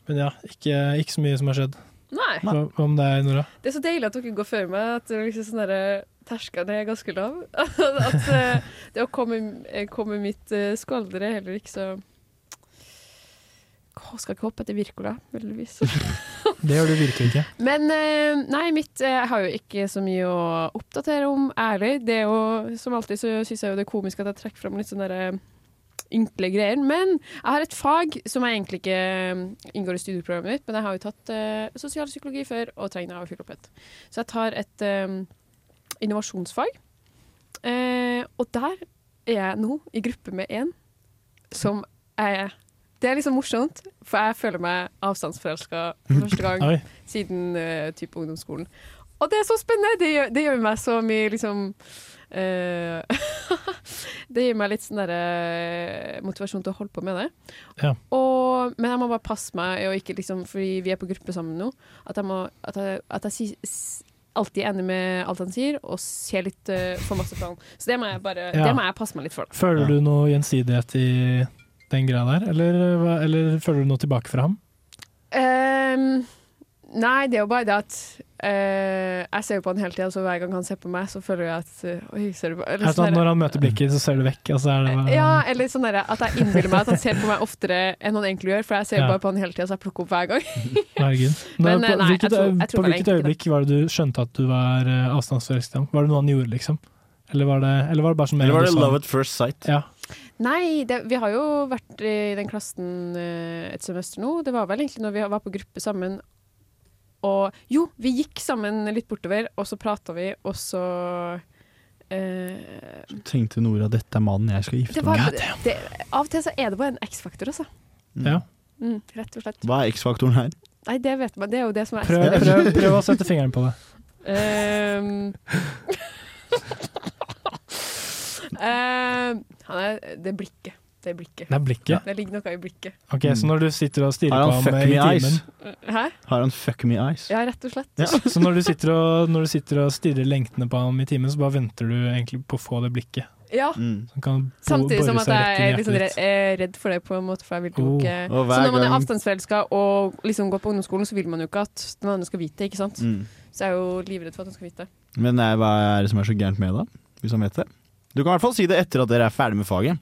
B: Men ja, ikke, ikke så mye som har skjedd.
C: Nei.
B: Hva hva med deg, Nora?
C: Det er så deilig at dere går før meg, at det er liksom sånn derre terskelen er ganske lav. at eh, det å komme, eh, komme mitt eh, skvaldre er heller ikke så Åh, Skal ikke hoppe etter Wirkola, heldigvis.
B: Det gjør du virkelig ikke.
C: Men eh, nei, mitt eh, Jeg har jo ikke så mye å oppdatere om, ærlig. Det er jo, som alltid så syns jeg jo det er komisk at jeg trekker fram litt sånne derre ynkle greier. Men jeg har et fag som jeg egentlig ikke eh, inngår i studieprogrammet mitt, men jeg har jo tatt eh, sosialpsykologi før og trenger å fylle opp et. Så jeg tar et eh, innovasjonsfag, eh, og der er jeg nå i gruppe med en som er Det er liksom morsomt, for jeg føler meg avstandsforelska for første gang
V: Oi.
C: siden eh, type ungdomsskolen. Og det er så spennende! Det gjør, det gjør meg så mye liksom eh, Det gir meg litt sånn derre motivasjon til å holde på med det.
B: Ja.
C: Og, men jeg må bare passe meg, og ikke liksom, fordi vi er på gruppe sammen nå, at jeg, må, at jeg, at jeg si, s- alltid er enig med alt han sier, og ser litt eh, for masse på han. Så det må jeg bare
B: Ja.
C: det må jeg passe meg litt for. Da.
B: Føler du noe gjensidighet i den greia der, eller, eh, hva- eller føler du noe tilbake fra ham?
C: Ehm, nei, det er jo bare det at eh, jeg ser jo på han hele tida, så hver gang han ser på meg, så føler jeg at eh, Oi, ser du på eller
B: Er det
C: sånn
B: sånn at
C: der-
B: når han møter blikket, så ser du vekk? Altså, er det bare,
C: Ja, eller sånn der, at jeg innbiller meg at han ser på meg oftere enn han egentlig gjør, for jeg ser
B: Ja.
C: bare på han hele tida, så jeg plukker opp hver gang.
B: Herregud.
C: Men, eh,
B: Når- på,
C: nei, jeg
B: hvilket,
C: tror- jeg tror
B: på
C: det er
B: hvilket
C: egentlig
B: øyeblikk var det du skjønte at du var eh, avstandsforelsket i ham? Var det noe han gjorde, liksom? Eller var det, eller var det bare som
D: Eller var
B: du
D: det
B: sa?
D: love at first sight?
B: Ja.
C: Nei, det, vi har jo vært i den klassen eh, et semester nå. Det var vel egentlig når vi var på gruppe sammen. Og jo, vi gikk sammen litt bortover, og så prata vi, og så eh,
D: Så tenkte Nora dette er mannen jeg skal gifte
C: det
D: meg
C: var,
D: med.
C: det, av og til så er det bare en X-faktor, altså.
D: Ja.
C: Mm, rett og slett.
D: Hva er X-faktoren her?
C: Nei, det vet man. Det er jo det som er
B: Prøv,
C: X-faktoren.
B: prøv, prøv å sette fingeren på det.
C: Ehm. Ehm, han er, det er blikket. Det er blikket.
B: Det er blikket?
C: Det ligger noe i blikket.
B: Ok, Så når du sitter og stirrer
D: Har
B: på
D: han
B: ham
D: fuck
B: i
D: me eyes?
B: timen
C: Hæ?
D: Har han fuck me eyes?
C: Ja, rett og slett.
B: Så når du, sitter og, når du sitter og stirrer lengtende på ham i timen, så bare venter du egentlig på å få det blikket.
C: Ja.
D: Mm.
B: Så han kan bo-
C: Samtidig som
B: bore
C: at
B: seg
C: jeg
B: rett
C: er
B: inn i hjertet
C: liksom
B: ditt.
C: redd, er redd for det, på en måte, for jeg vil jo
B: Oh.
C: ikke
D: Og hver
C: Så når man er
D: gang-
C: avstandsforelska og liksom går på ungdomsskolen, så vil man jo ikke at den andre skal vite det, ikke sant?
D: Mm.
C: Så jeg er jo livredd for at han skal vite det.
D: Men nei, hva er det som er så gærent med det, da? hvis han vet det? Du kan i hvert fall si det etter at dere er ferdig med faget.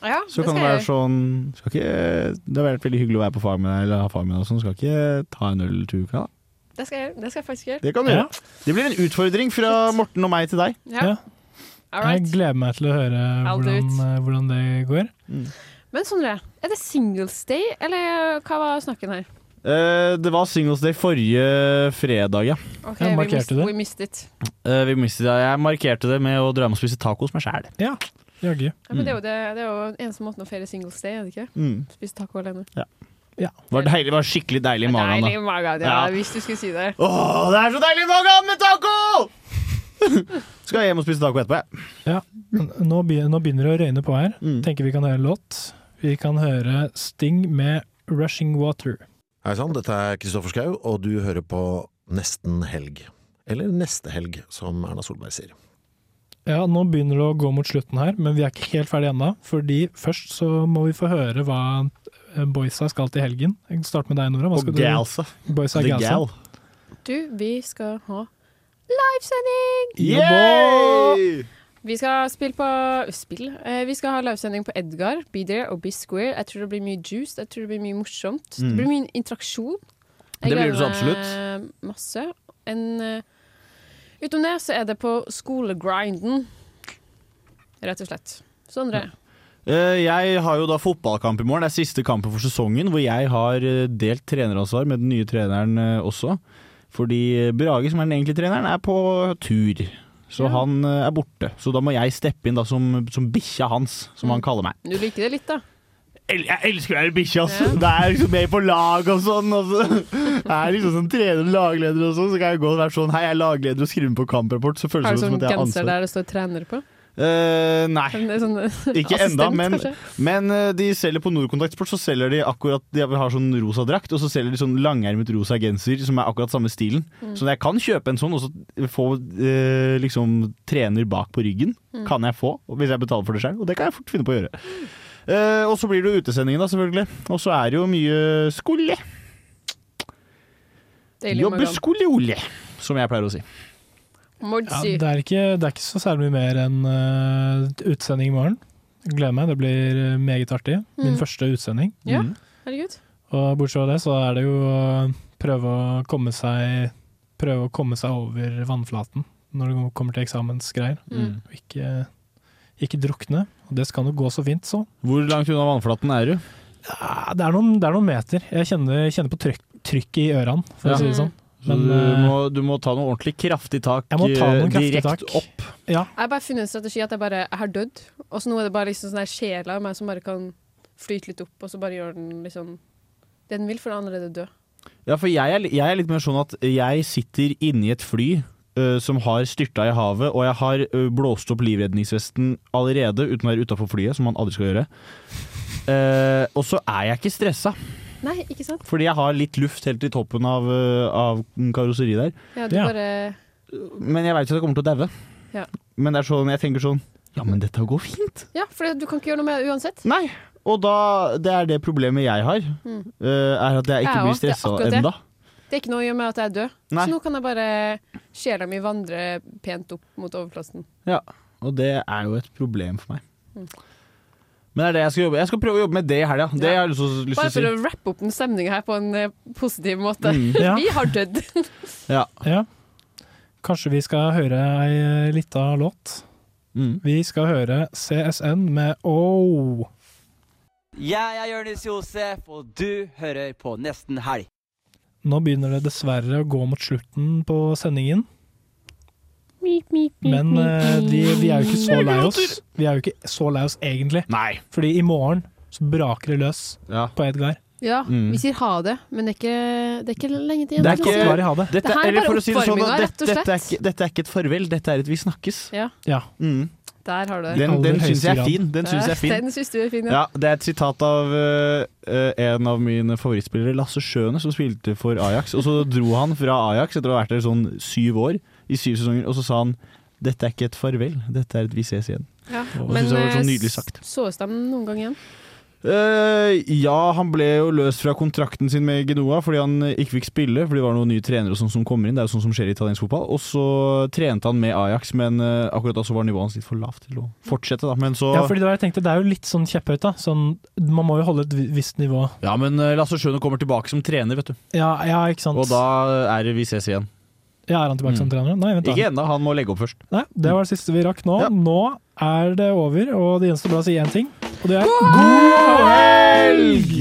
C: Ja,
D: Så kan det være sånn skal ikke, Det har vært veldig hyggelig å være på fag med deg, eller ha fag med deg og sånn. Skal ikke ta en øl til uka, da?
C: Det skal jeg gjøre. Det skal jeg faktisk gjøre.
D: Det kan du gjøre. Det blir en utfordring fra Morten og meg til deg.
C: Ja.
B: Ja.
C: All right.
B: Jeg gleder meg til å høre
C: I'll do
B: hvordan, eh, hvordan det går.
C: Men Sondre, er det singles day, eller hva var snakken her?
D: Eh, det var Singles Day forrige fredag, ja.
C: Ok,
D: Jeg
C: we
D: markerte
C: missed-
D: det.
C: We missed it.
D: Eh, vi mistet det. Jeg markerte det med å dra hjem og spise tacos med sjæl.
B: Ja, jaggu.
C: Ja, men det, er jo det, det er jo den eneste måten å feire singles day, er det ikke?
D: Mm.
C: Spise taco alene.
D: Ja. Var deilig, var skikkelig deilig i magen.
C: Deilig i
D: da.
C: magen, ja,
D: Ja.
C: hvis du skulle si det.
D: Åh, det er så deilig i magen med taco! Skal jeg hjem og spise taco etterpå, jeg.
B: Ja, nå, be- nå begynner det å røyne på her.
D: Mm.
B: Tenker vi kan høre en låt. Vi kan høre Sting med 'Rushing Water'.
W: Hei sann, dette er Kristoffer Schau, og du hører på Nesten helg. Eller Neste helg, som Erna Solberg sier.
B: Ja, nå begynner det å gå mot slutten her, men vi er ikke helt ferdig ennå. Fordi først så må vi få høre hva eh, boysa skal til helgen. Jeg starter med deg, Nora. Hva
D: Og
B: skal du-
D: galsa.
B: Boysa og
D: altså. The
B: galsa.
D: gal.
C: Du, vi skal ha livesending!
D: Yay!
C: Vi skal spille på Spill. Eh, vi skal ha livesending på Edgar, Be There og Be Square. Jeg tror det blir mye juice, jeg tror det blir mye morsomt.
D: Mm.
C: Det blir mye interaksjon.
D: Det blir det så
C: gleder meg Masse. En, eh, utom det så er det på skolegrinden, rett og slett. Så André,
D: Eh, Jeg har jo da fotballkamp i morgen. Det er siste kampen for sesongen, hvor jeg har eh, delt treneransvar med den nye treneren eh, også. Fordi eh, Brage, som er den egentlige treneren, er på tur. Så han eh, er borte. Så da må jeg steppe inn da som, som bikkja hans, som
B: Mm.
D: han kaller meg.
C: du liker det litt, da?
D: El- Jeg elsker å være bikkje, ass! Da er jeg liksom med på lag og sånn. Og så. Jeg er liksom sånn trener og lagleder og sånn, så kan jeg gå og være sånn Hei, jeg er lagleder og skriver på kamprapport, så føles
C: Har
D: det
C: du
D: som
C: sånn
D: at jeg har
C: genser
D: ansvar.
C: der det står 'trener' på?
D: Eh, nei.
C: En sånn
D: Ikke
C: assistent,
D: enda, men,
C: kanskje?
D: men eh, de selger på Nordkontakt Sport Så selger de akkurat De har sånn rosa drakt Og så selger de sånn langermet rosa genser Som er akkurat samme stilen
W: Mm.
D: Så jeg kan kjøpe en sånn Og så få eh, liksom trener bak på ryggen
W: Mm.
D: Kan jeg få Hvis jeg betaler for det selv Og det kan jeg fort finne på å gjøre Eh, Og så blir det jo utesendingen da selvfølgelig Og så er det jo mye skole
C: Deilig
D: Jobbe
C: morgen.
D: skole-ole Som jeg pleier å si
B: Ja,
C: Modsi.
B: det, er ikke, det er ikke så særlig mye mer enn eh, utsending i morgen. Jeg Gleder meg, det blir eh, meget artig. Min
C: Mm.
B: første utsending.
C: Ja, herregud.
B: Og bortsett fra det, så er det jo å prøve å komme seg Prøve å komme seg over vannflaten når det kommer til eksamensgreier.
D: Mm.
B: Og Ikke, ikke drukne. Og det skal jo gå så fint, så.
D: Hvor langt unna vannflaten er du?
B: Ja, det, er noen, det er noen meter. Jeg kjenner, kjenner på trykk, trykk i ørene, for
D: Ja.
B: å si det sånn.
D: Så
B: Men,
D: du,
B: eh,
D: må, du må ta noe ordentlig kraftig tak
B: Jeg må ta
D: eh,
B: noen kraftige
D: Direkte
B: tak.
D: opp
B: Ja.
C: Jeg har bare funnet en strategi at jeg bare jeg har dødd, og så nå er det bare liksom sånn der sjela av meg som bare kan flyte litt opp, og så bare gjør den liksom det den vil, for den er allerede død.
D: Ja, for jeg er, jeg er litt mer sånn at jeg sitter inne i et fly ø, som har styrta i havet, og jeg har ø, blåst opp livredningsvesten allerede uten å være utafor flyet, som man aldri skal gjøre. Eh, og så er jeg ikke stressa,
C: Nei, ikke sant?
D: fordi jeg har litt luft helt i toppen av, ø, av karosseriet der.
C: Ja, du bare
D: Men jeg veit jo at jeg kommer til å daue.
C: Ja.
D: Men det er sånn, jeg tenker sånn Ja, men dette går fint.
C: ja for du kan ikke gjøre noe med det uansett.
D: Nei. Og da, det er det problemet jeg har,
C: Mm.
D: ø, er at jeg ikke
C: Jeg
D: blir
C: også, det er
D: stressa
C: akkurat det.
D: ennå.
C: Det er ikke noe å gjøre med at jeg er død.
D: Nei.
C: Så nå kan jeg bare sjela mi vandre pent opp mot overplassen.
D: Ja, og det er jo et problem for meg.
C: Mm.
D: Men det er det jeg skal jobbe Jeg skal prøve å jobbe med det i helga. Det har jeg lyst til å- lyst
C: Bare for
D: til
C: å
D: å si.
C: rappe opp den stemninga her på en eh, positiv måte.
D: Mm. Ja.
C: Vi har dødd.
D: Ja.
B: Kanskje vi skal høre ei eh, lita låt.
D: Mm.
B: Vi skal høre CSN med Oh.
F: Jeg er Jonis Josef, og du hører på Nesten Helg.
B: Nå begynner det dessverre å gå mot slutten på sendingen.
C: Mip, mip, mip,
B: Men
C: mip,
B: eh, de,
C: mip.
B: vi er jo ikke så lei oss. Vi er jo ikke så lei oss egentlig.
D: Nei.
B: Fordi i morgen så braker det løs på Edgar.
C: Ja,
B: Mm.
C: vi sier ha det, men det er ikke, det er ikke lenge til.
B: Det er ikke- Godt vær i ha det.
D: Dette,
C: her er
D: eller
C: bare
D: for å si det sånn,
C: oppvarminga,
D: dette,
C: rett og
D: dette, er
C: slett.
D: ikke, dette er ikke et farvel, dette er et vi snakkes.
C: Ja,
D: Mm.
C: der har du det.
D: Den, den syns jeg er fin. Den
C: Der-
D: synes jeg er fin.
C: Den syns du er fin,
D: Ja, det er et sitat av eh, eh, en av mine favorittspillere, Lasse Schøne, som spilte for Ajax. Og så dro han fra Ajax etter å ha vært der sånn syv år, i syv sesonger, og så sa han dette er ikke et farvel, dette er et vi ses igjen.
C: Ja,
D: Og
C: Men
D: synes det var så
C: eh,
D: nydelig sagt.
C: såes de noen gang igjen?
D: Eh, ja, han ble jo løst fra kontrakten sin med Genoa fordi han ikke fikk spille, fordi det var noen nye trenere og sånn som kommer inn. Det er jo sånn som skjer i italiensk fotball. Og så trente han med Ajax, men eh, akkurat da så var nivået hans litt for lavt til å fortsette, da. Men så
B: Ja, fordi det, var, jeg tenkte, det er jo litt sånn kjepphøyt, da. Sånn, man må jo holde et vi- visst nivå.
D: Ja, men eh, Lasse Schøne kommer tilbake som trener, vet du.
B: Ja, ja ikke sant.
D: Og da er det vi ses igjen.
B: ja, er han tilbake som trener? Nei, vent da.
D: Ikke ennå, han må legge opp først.
B: Nei, det var det siste vi rakk nå. Nå er det over, og det gjenstår bare å si én ting, og det er
D: God helg!